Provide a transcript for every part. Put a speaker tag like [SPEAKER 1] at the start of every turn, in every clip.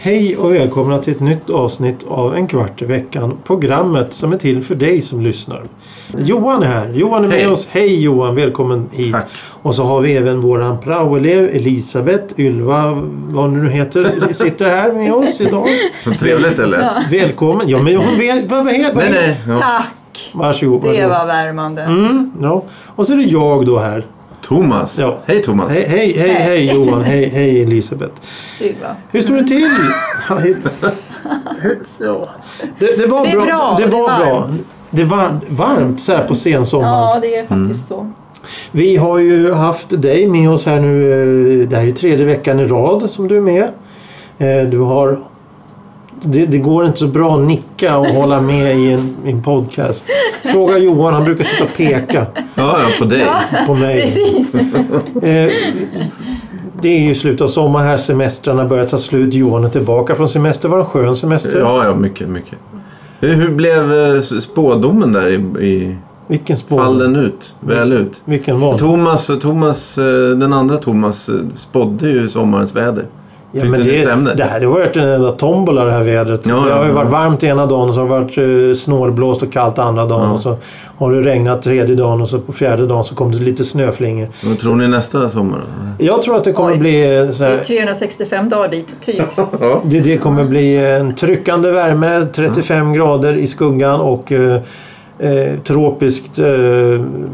[SPEAKER 1] Hej och välkomna till ett nytt avsnitt av En kvart i veckan. Programmet som är till för dig som lyssnar. Johan är här. Johan är med
[SPEAKER 2] Hej.
[SPEAKER 1] oss. Hej Johan, välkommen hit.
[SPEAKER 2] Tack.
[SPEAKER 1] Och så har vi även våran praoelev Elisabeth Ylva, vad hon nu heter, sitter här med oss idag.
[SPEAKER 2] Vad Trevligt eller?
[SPEAKER 3] Ja.
[SPEAKER 1] Välkommen. Ja men hon vet, vad, vad heter
[SPEAKER 2] Nej, nej. Ja.
[SPEAKER 3] Tack!
[SPEAKER 1] Varsågod.
[SPEAKER 3] Det
[SPEAKER 1] varsågod.
[SPEAKER 3] var värmande.
[SPEAKER 1] Mm, ja. Och så är det jag då här.
[SPEAKER 2] Thomas.
[SPEAKER 1] Ja.
[SPEAKER 2] Hej Thomas.
[SPEAKER 1] Hej, hej, hej, hej Johan. Hej, hej Elisabeth.
[SPEAKER 3] Det var-
[SPEAKER 1] Hur står det till? Ja, hur- ja. det, det var
[SPEAKER 3] Det är
[SPEAKER 1] bra.
[SPEAKER 3] bra,
[SPEAKER 1] Det
[SPEAKER 3] det är
[SPEAKER 1] var bra.
[SPEAKER 3] varmt.
[SPEAKER 1] Det är varmt, varmt så här på sensommaren.
[SPEAKER 3] Ja, det är faktiskt så.
[SPEAKER 1] Vi har ju haft dig med oss här nu. eh, Det här är tredje veckan i rad som du är med. Eh, Du har... Det, det går inte så bra att nicka och hålla med i en, i en podcast. Fråga Johan, han brukar sitta och peka
[SPEAKER 2] Ja, ja, på dig.
[SPEAKER 1] på mig.
[SPEAKER 3] Precis.
[SPEAKER 1] Eh, det är ju slut av sommar här, semestrarna börjar ta slut. Johan är tillbaka från semester. Var det en skön semester?
[SPEAKER 2] Ja, ja, mycket, mycket. Hur, hur blev eh, s- spådomen där i, i
[SPEAKER 1] Vilken spår.
[SPEAKER 2] fall den ut? Väl
[SPEAKER 1] Mm.
[SPEAKER 2] ut?
[SPEAKER 1] Vilken var
[SPEAKER 2] Thomas, Thomas, eh, den andra Thomas eh, spådde ju sommarens väder.
[SPEAKER 1] ja,
[SPEAKER 2] tyckte
[SPEAKER 1] men
[SPEAKER 2] det stämde.
[SPEAKER 1] Det här har varit en enda tombola det här vädret.
[SPEAKER 2] Ja,
[SPEAKER 1] det har ju
[SPEAKER 2] ja,
[SPEAKER 1] varit
[SPEAKER 2] ja.
[SPEAKER 1] varmt ena dagen och så har det varit eh, snålblåst och kallt andra dagen.
[SPEAKER 2] Ja.
[SPEAKER 1] Och så har det regnat tredje dagen och så på fjärde dagen så kom det lite snöflingor.
[SPEAKER 2] Vad tror ni nästa sommar? då?
[SPEAKER 1] Jag tror att det kommer
[SPEAKER 3] Oj.
[SPEAKER 1] bli eh, så
[SPEAKER 3] Det
[SPEAKER 1] här,
[SPEAKER 3] är 365 dagar dit, typ.
[SPEAKER 2] Ja.
[SPEAKER 1] Det, det kommer bli eh, en tryckande värme, 35 grader i skuggan och eh, eh, tropiskt eh,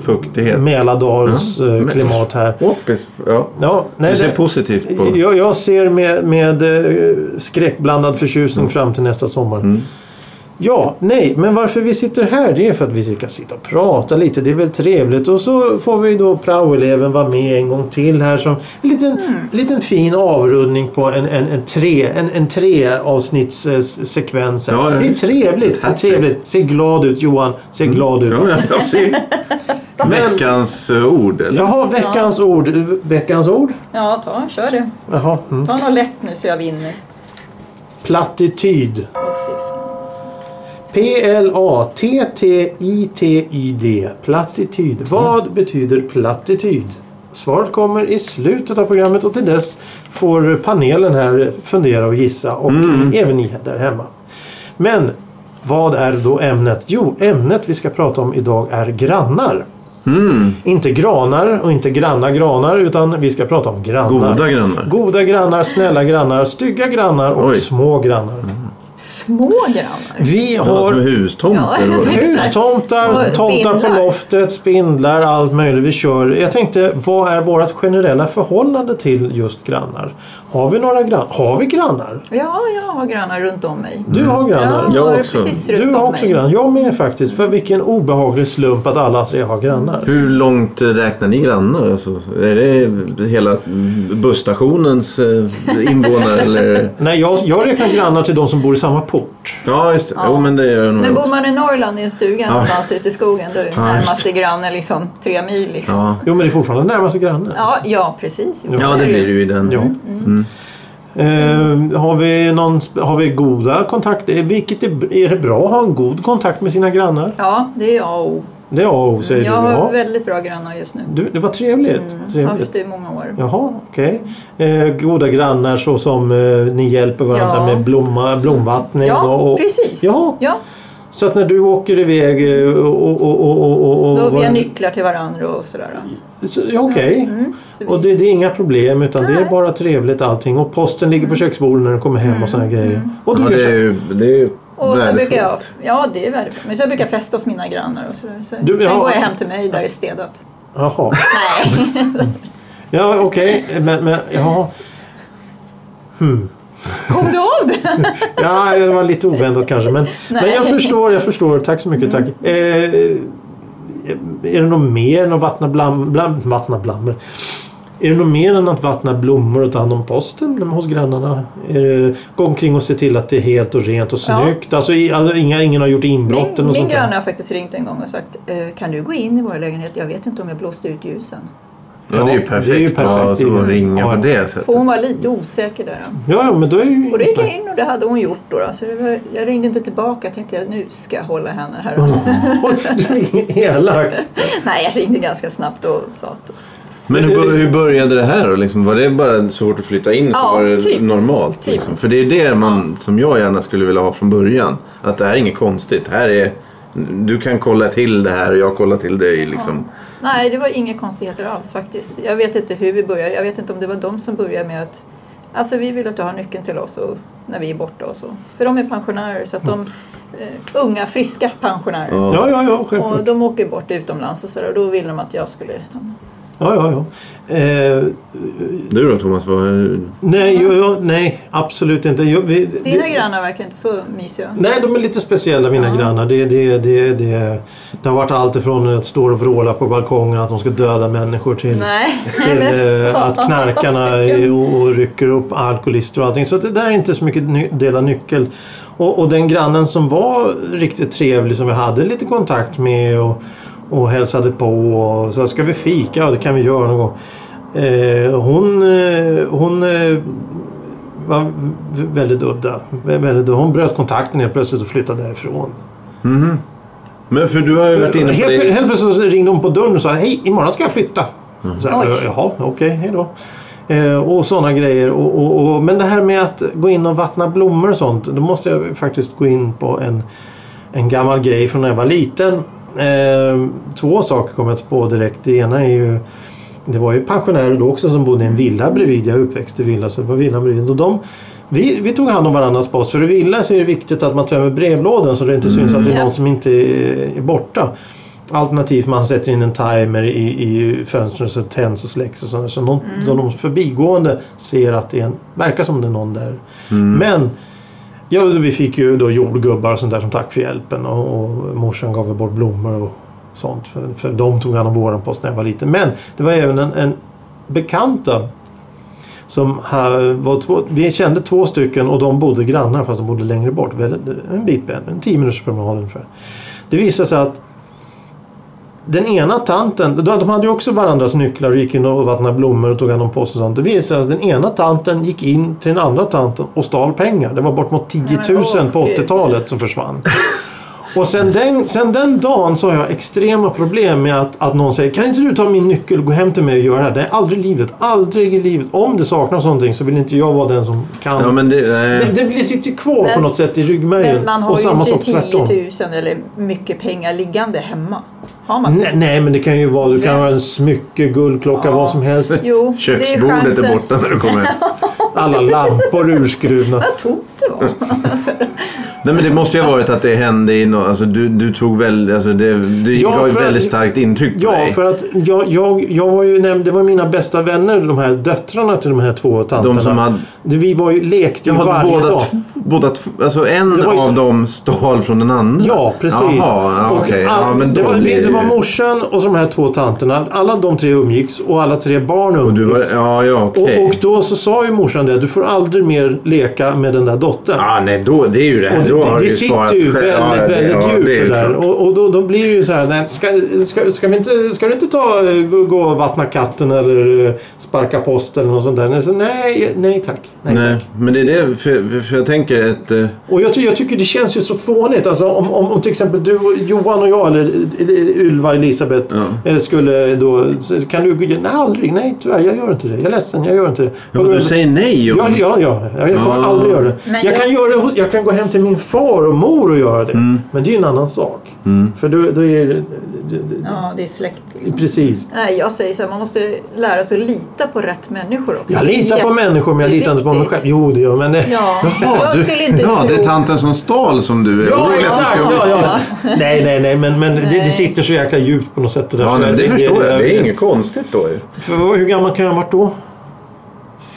[SPEAKER 2] Fuktighet. Ja. Men-
[SPEAKER 1] Mälardalsklimat här.
[SPEAKER 2] Hoppis. Ja.
[SPEAKER 1] Ja, nej,
[SPEAKER 2] Du ser
[SPEAKER 1] det-
[SPEAKER 2] positivt på...
[SPEAKER 1] jag, jag ser med, med eh, skräckblandad förtjusning
[SPEAKER 2] Mm.
[SPEAKER 1] fram till nästa sommar. Ja, nej, men varför vi sitter här det är för att vi ska sitta och prata lite. Det är väl trevligt. Och så får vi då praoeleven vara med en gång till här som en liten, liten fin avrundning på en, en, en tre, en, en tre avsnitts eh, sekvens. här.
[SPEAKER 2] Ja, ja.
[SPEAKER 1] Det är trevligt. Det är trevligt. Se glad ut Johan. Se glad ut.
[SPEAKER 2] Ja, ja, jag ser. Veckans eh, ord. Eller?
[SPEAKER 1] Jaha, veckans ord. Veckans ord?
[SPEAKER 3] Ja, ta, kör du.
[SPEAKER 1] Jaha. Mm.
[SPEAKER 3] Ta något lätt nu så jag vinner.
[SPEAKER 1] Plattityd.
[SPEAKER 3] Åh, fy fan.
[SPEAKER 1] P-L-A-T-T-I-T-Y-D. Plattityd. Vad betyder plattityd? Svaret kommer i slutet av programmet och till dess får panelen här fundera och gissa och även ni där hemma. Men vad är då ämnet? Jo, ämnet vi ska prata om idag är grannar. Inte granar och inte granna granar utan vi ska prata om grannar.
[SPEAKER 2] Goda grannar.
[SPEAKER 1] Goda grannar, snälla grannar, stygga grannar och
[SPEAKER 2] Oj.
[SPEAKER 1] små grannar.
[SPEAKER 3] Små grannar.
[SPEAKER 1] Vi
[SPEAKER 2] Ja,
[SPEAKER 1] har
[SPEAKER 2] som hustomter.
[SPEAKER 3] Ja, jag
[SPEAKER 2] och-
[SPEAKER 3] tänkte-
[SPEAKER 1] Hustomtar,
[SPEAKER 3] Och
[SPEAKER 1] tomtar på
[SPEAKER 3] spindlar.
[SPEAKER 1] loftet, spindlar, allt möjligt vi kör. Jag tänkte, vad är vårt generella förhållande till just grannar? Har vi några grannar? Har vi grannar?
[SPEAKER 3] Ja, jag har grannar runt om mig.
[SPEAKER 1] Du har grannar.
[SPEAKER 3] Jag
[SPEAKER 2] Jag
[SPEAKER 3] har
[SPEAKER 2] också.
[SPEAKER 3] precis runt
[SPEAKER 1] Du har
[SPEAKER 3] om
[SPEAKER 1] också
[SPEAKER 3] mig.
[SPEAKER 1] grannar. Jag med faktiskt. För vilken obehaglig slump att alla tre har grannar.
[SPEAKER 2] Hur långt räknar ni grannar? Alltså, är det hela busstationens eh, invånare? eller?
[SPEAKER 1] Nej, jag, jag räknar grannar till de som bor i samma port.
[SPEAKER 2] Ja, just det. Jo, men det gör nog
[SPEAKER 3] Men
[SPEAKER 2] jag
[SPEAKER 3] bor
[SPEAKER 2] också.
[SPEAKER 3] man i Norrland i en stuga någonstans ute i skogen då är
[SPEAKER 2] Ja, just
[SPEAKER 3] närmaste granne liksom tre mil. Liksom.
[SPEAKER 2] Ja.
[SPEAKER 1] Jo, men det är fortfarande närmaste grannen.
[SPEAKER 3] Ja, ja, precis. Jo, så
[SPEAKER 2] ja,
[SPEAKER 3] är
[SPEAKER 2] det blir det ju i den.
[SPEAKER 1] Ja. Eh, har, vi någon, sp- har vi goda kontakter? Eh, Vilket är, är det bra att ha en god kontakt med sina grannar?
[SPEAKER 3] Ja, det är jag och
[SPEAKER 1] Det är A och O, säger
[SPEAKER 3] Jag
[SPEAKER 1] du. Ja.
[SPEAKER 3] har väldigt bra grannar just nu.
[SPEAKER 1] Du, det var trevligt.
[SPEAKER 3] Haft
[SPEAKER 1] trevligt.
[SPEAKER 3] det i många år.
[SPEAKER 1] Jaha, okej. Eh, goda grannar så som eh, ni hjälper varandra
[SPEAKER 3] Ja.
[SPEAKER 1] med blomma, blomvattning.
[SPEAKER 3] Ja,
[SPEAKER 1] och, och,
[SPEAKER 3] precis.
[SPEAKER 1] Jaha.
[SPEAKER 3] Ja,
[SPEAKER 1] Så att när du åker iväg eh, och... och, och, och, och, och
[SPEAKER 3] då har vi
[SPEAKER 1] var-
[SPEAKER 3] har nycklar till varandra och sådär.
[SPEAKER 1] Så- ja, Okej.
[SPEAKER 3] Mm, så vi-
[SPEAKER 1] Och det, det är inga problem utan det är
[SPEAKER 3] Nej. Mm.
[SPEAKER 1] bara trevligt allting. Och posten ligger på köksbordet när du kommer hem och sådana grejer. Och du
[SPEAKER 2] Ja,
[SPEAKER 1] gör
[SPEAKER 2] det är
[SPEAKER 1] så.
[SPEAKER 2] ju, det är ju
[SPEAKER 3] och så brukar jag,
[SPEAKER 2] värdefullt.
[SPEAKER 3] ja, det är värdefullt. Men så jag brukar festa hos mina grannar och sådär. Så,
[SPEAKER 1] Du,
[SPEAKER 3] sen
[SPEAKER 1] ja.
[SPEAKER 3] går jag hem till mig där i städat.
[SPEAKER 1] Jaha.
[SPEAKER 3] Nej,
[SPEAKER 1] Ja, okej. Men, men ja.
[SPEAKER 3] kom du av det?
[SPEAKER 1] ja, det var lite oväntat kanske. Men, men jag förstår, jag förstår. Tack så mycket.
[SPEAKER 3] Mm.
[SPEAKER 1] Tack. Eh, är det något mer än att vattna, blam, blam, vattna blammer? Är det något mer än att vattna blommor och ta hand om posten hos grannarna? Är det, gå omkring och se till att det är helt och rent och
[SPEAKER 3] Ja.
[SPEAKER 1] snyggt. Alltså, i, alltså inga, ingen har gjort inbrotten
[SPEAKER 3] Min,
[SPEAKER 1] och
[SPEAKER 3] min
[SPEAKER 1] sånt där.
[SPEAKER 3] granne har faktiskt ringt en gång och sagt eh, Kan du gå in i vår lägenhet? Jag vet inte om jag blåste ut ljusen.
[SPEAKER 2] Ja, det är ju
[SPEAKER 1] Ja,
[SPEAKER 2] perfekt.
[SPEAKER 1] det är ju
[SPEAKER 2] Ja,
[SPEAKER 1] perfekt.
[SPEAKER 2] så man
[SPEAKER 1] Det är-
[SPEAKER 2] ringer
[SPEAKER 1] ja.
[SPEAKER 2] på det sättet.
[SPEAKER 3] För hon var lite osäker där. då.
[SPEAKER 1] Ja, ja, men då är det ju...
[SPEAKER 3] Och då
[SPEAKER 1] inget
[SPEAKER 3] gick jag
[SPEAKER 1] snack.
[SPEAKER 3] in och det hade hon gjort då. då. Så det var, jag ringde inte tillbaka. Tänkte jag nu ska jag hålla henne här.
[SPEAKER 1] Mm. Oj, Elakt.
[SPEAKER 3] Nej, jag ringde ganska snabbt och sa att
[SPEAKER 2] Men hur, bör- hur började det här då? Liksom, var det bara så fort att flytta in så
[SPEAKER 3] Ja,
[SPEAKER 2] var det
[SPEAKER 3] typ.
[SPEAKER 2] normalt?
[SPEAKER 3] Typ.
[SPEAKER 2] Liksom? För det är det man, som jag gärna skulle vilja ha från början. Att det här är inget konstigt. Här är, du kan kolla till det här och jag kollar till dig. Liksom.
[SPEAKER 3] Nej, det var inga konstigheter alls faktiskt. Jag vet inte hur vi började. Jag vet inte om det var de som började med att Alltså vi vill att du har nyckeln till oss och, när vi är borta och så. För de är pensionärer så att de eh, unga friska pensionärer.
[SPEAKER 2] Ja.
[SPEAKER 1] Ja, ja, ja.
[SPEAKER 3] Och
[SPEAKER 1] Självklart.
[SPEAKER 3] de åker bort utomlands och sådär och då ville de att jag skulle...
[SPEAKER 1] Ja, ja, ja. Eh,
[SPEAKER 2] Du då Thomas? Vad,
[SPEAKER 1] nej, jo, jo, nej, absolut inte. Jo, vi,
[SPEAKER 3] Dina
[SPEAKER 1] det-
[SPEAKER 3] grannar verkar inte så mysiga.
[SPEAKER 1] Nej, de är lite speciella mina grannar. Det, det, det, det, det har varit allt ifrån att stå och vråla på balkongen att de ska döda människor till,
[SPEAKER 3] Nej.
[SPEAKER 1] till
[SPEAKER 3] men
[SPEAKER 1] eh, att knarkarna är- och, och rycker upp alkoholister och allting. Så det där är inte så mycket ny, dela nyckel. Och, och den grannen som var riktigt trevlig som vi hade lite kontakt med och, och hälsade på och så ska vi fika? Ja, det kan vi göra någon gång. Eh, hon eh, hon eh, var v- väldigt udda. Vä- Väldigt, hon bröt kontakten helt plötsligt och flyttade därifrån.
[SPEAKER 2] men för du har ju varit inne på
[SPEAKER 1] Helt,
[SPEAKER 2] det.
[SPEAKER 1] helt plötsligt så ringde hon på dörren och sa hej, imorgon ska jag flytta.
[SPEAKER 2] Mm.
[SPEAKER 1] Så här,
[SPEAKER 3] Oj.
[SPEAKER 1] "Eh, Jaha, okej, hej då. Eh, och sådana grejer. Och, och, och, men det här med att gå in och vattna blommor och sånt. Då måste jag faktiskt gå in på en, en gammal grej från när jag var liten. Eh, två saker kom jag på direkt. Det ena är ju det var ju pensionärer då också som bodde i en villa bredvid. Jag är uppväxt i villa så det var villan bredvid. Och de, vi, vi tog hand om varandras post. För i villa så är det viktigt att man tömmer brevlådan så det inte syns att det är
[SPEAKER 3] Ja.
[SPEAKER 1] någon som inte är, är borta. Alternativt man sätter in en timer i, i fönstren så tänds och släcks och sådär. Så någon, så de förbigående ser att det är en, verkar som det är någon där. Men ja, vi fick ju då jordgubbar och sånt där som tack för hjälpen. Och, och morsan gav väl bort blommor och sånt. För, för de tog hand om våran post när jag var liten. Men det var även en, en bekanta som här var två, vi kände två stycken och de bodde grannar fast de bodde längre bort. Väl- En bit bort, en tio minuters promenad ungefär. Det visade sig att den ena tanten, de hade ju också varandras nycklar och gick in och vattnade blommor och tog hand om post och sånt. Det visade sig att den ena tanten gick in till den andra tanten och stal pengar. Det var bort mot 10 000
[SPEAKER 3] Nej, men åh,
[SPEAKER 1] på
[SPEAKER 3] Gud.
[SPEAKER 1] 80-talet som försvann. Och sen den, sen den dagen så har jag extrema problem med att, att någon säger Kan inte du ta min nyckel och gå hem till mig och göra det här? Det är aldrig i livet. Aldrig i livet. Om det saknas någonting så vill inte jag vara den som kan.
[SPEAKER 2] Ja, men eh, det, nej.
[SPEAKER 1] det, det blir- sitter ju kvar på
[SPEAKER 3] Men-
[SPEAKER 1] något sätt i ryggmärgen.
[SPEAKER 3] Men man har
[SPEAKER 1] och samma
[SPEAKER 3] ju
[SPEAKER 1] sak
[SPEAKER 3] inte 10 000
[SPEAKER 1] tvärtom.
[SPEAKER 3] eller mycket pengar liggande hemma. Har man
[SPEAKER 1] Nej, nej, men det kan ju vara. Du kan ha en smycke, guldklocka,
[SPEAKER 3] Ja.
[SPEAKER 1] vad som helst.
[SPEAKER 3] Jo,
[SPEAKER 2] Köksbordet
[SPEAKER 3] det
[SPEAKER 2] är
[SPEAKER 3] är
[SPEAKER 2] borta när du kommer hem.
[SPEAKER 1] Alla lampor är urskruvna.
[SPEAKER 3] Vad tomt det var. Alltså,
[SPEAKER 2] Nej men det måste ju ha varit att det hände i något, alltså du, du tog väl, alltså det, det
[SPEAKER 1] Ja,
[SPEAKER 2] gav ju
[SPEAKER 1] för att-
[SPEAKER 2] väldigt starkt intryck på
[SPEAKER 1] Ja,
[SPEAKER 2] dig.
[SPEAKER 1] för att jag, jag, jag var ju nämnd, det var mina bästa vänner, de här döttrarna till de här två tanterna.
[SPEAKER 2] De som hade-
[SPEAKER 1] Vi var ju, lekte
[SPEAKER 2] Jag
[SPEAKER 1] ju
[SPEAKER 2] har
[SPEAKER 1] varje
[SPEAKER 2] båda,
[SPEAKER 1] dag.
[SPEAKER 2] tv- båda tv- alltså en
[SPEAKER 1] Det var
[SPEAKER 2] av
[SPEAKER 1] ju så-
[SPEAKER 2] dem stal från den andra.
[SPEAKER 1] Ja, precis.
[SPEAKER 2] Jaha, ja,
[SPEAKER 1] Och
[SPEAKER 2] okej.
[SPEAKER 1] all-
[SPEAKER 2] Ja, men
[SPEAKER 1] det,
[SPEAKER 2] då
[SPEAKER 1] var,
[SPEAKER 2] blir
[SPEAKER 1] det
[SPEAKER 2] ju-
[SPEAKER 1] var morsan och så de här två tanterna. Alla de tre umgicks och alla tre barnen
[SPEAKER 2] Och du
[SPEAKER 1] umgicks.
[SPEAKER 2] var, ja, ja, okej.
[SPEAKER 1] och, och då så sa ju morsan det, du får aldrig mer leka med den där dottern.
[SPEAKER 2] Ja, nej, då, det är ju det.
[SPEAKER 1] Och
[SPEAKER 2] här.
[SPEAKER 1] det,
[SPEAKER 2] då har
[SPEAKER 1] det, det
[SPEAKER 2] du ju
[SPEAKER 1] sitter
[SPEAKER 2] svarat
[SPEAKER 1] ju
[SPEAKER 2] själv. Ja,
[SPEAKER 1] väldigt, väldigt
[SPEAKER 2] ja,
[SPEAKER 1] djupt
[SPEAKER 2] det är
[SPEAKER 1] det
[SPEAKER 2] ju
[SPEAKER 1] där.
[SPEAKER 2] klart.
[SPEAKER 1] Och, och då, då blir det ju så här, nej, ska, ska, ska, vi inte, ska du inte ta, eh, gå och vattna katten eller eh, sparka post eller något sånt där? Nej, så, nej, nej tack. Nej,
[SPEAKER 2] Nej,
[SPEAKER 1] Tack.
[SPEAKER 2] men det är det, för, för- för jag tänker att... eh,
[SPEAKER 1] Och jag, ty- jag tycker det känns ju så fånigt. Alltså, om, om, om till exempel du, och Johan och jag eller eller Ylva och Elisabeth
[SPEAKER 2] Ja.
[SPEAKER 1] eh, skulle då... så Kan du gå igen? Nej, aldrig. Nej, tyvärr. Jag gör inte det. Jag är ledsen. Jag gör inte det.
[SPEAKER 2] Ja, du säger nej Johan.
[SPEAKER 1] Ja, ja, ja. Jag kommer
[SPEAKER 2] Ja.
[SPEAKER 1] aldrig göra det.
[SPEAKER 3] Men
[SPEAKER 1] Jag kan,
[SPEAKER 3] jag-
[SPEAKER 1] göra, det- jag kan gå hem till min far och mor och göra det.
[SPEAKER 2] Mm.
[SPEAKER 1] Men det är ju en annan sak. För då, då är det...
[SPEAKER 3] ja, det är släkt liksom.
[SPEAKER 1] Precis.
[SPEAKER 3] Nej, jag säger så här, man måste lära sig att lita på rätt människor också.
[SPEAKER 1] Jag litar på
[SPEAKER 3] Jätte-
[SPEAKER 1] människor men jag
[SPEAKER 3] det är
[SPEAKER 1] litar inte på mig
[SPEAKER 3] viktigt.
[SPEAKER 1] själv. Jo, det gör jag. Men det...
[SPEAKER 3] Ja,
[SPEAKER 2] Ja,
[SPEAKER 3] jag skulle inte
[SPEAKER 2] ja
[SPEAKER 3] tro...
[SPEAKER 2] det är tanten som stal som du är
[SPEAKER 1] Ja,
[SPEAKER 2] orolig för.
[SPEAKER 1] exakt! Ja, ja. Nej, nej, nej. Men, men Det, det sitter så jäkla djupt på något sätt. Det, där.
[SPEAKER 2] Ja,
[SPEAKER 1] Så
[SPEAKER 2] nej, men det förstår jag. Det är
[SPEAKER 1] jag-
[SPEAKER 2] inget konstigt då ju.
[SPEAKER 1] För vad- hur gammal kan jag ha varit då?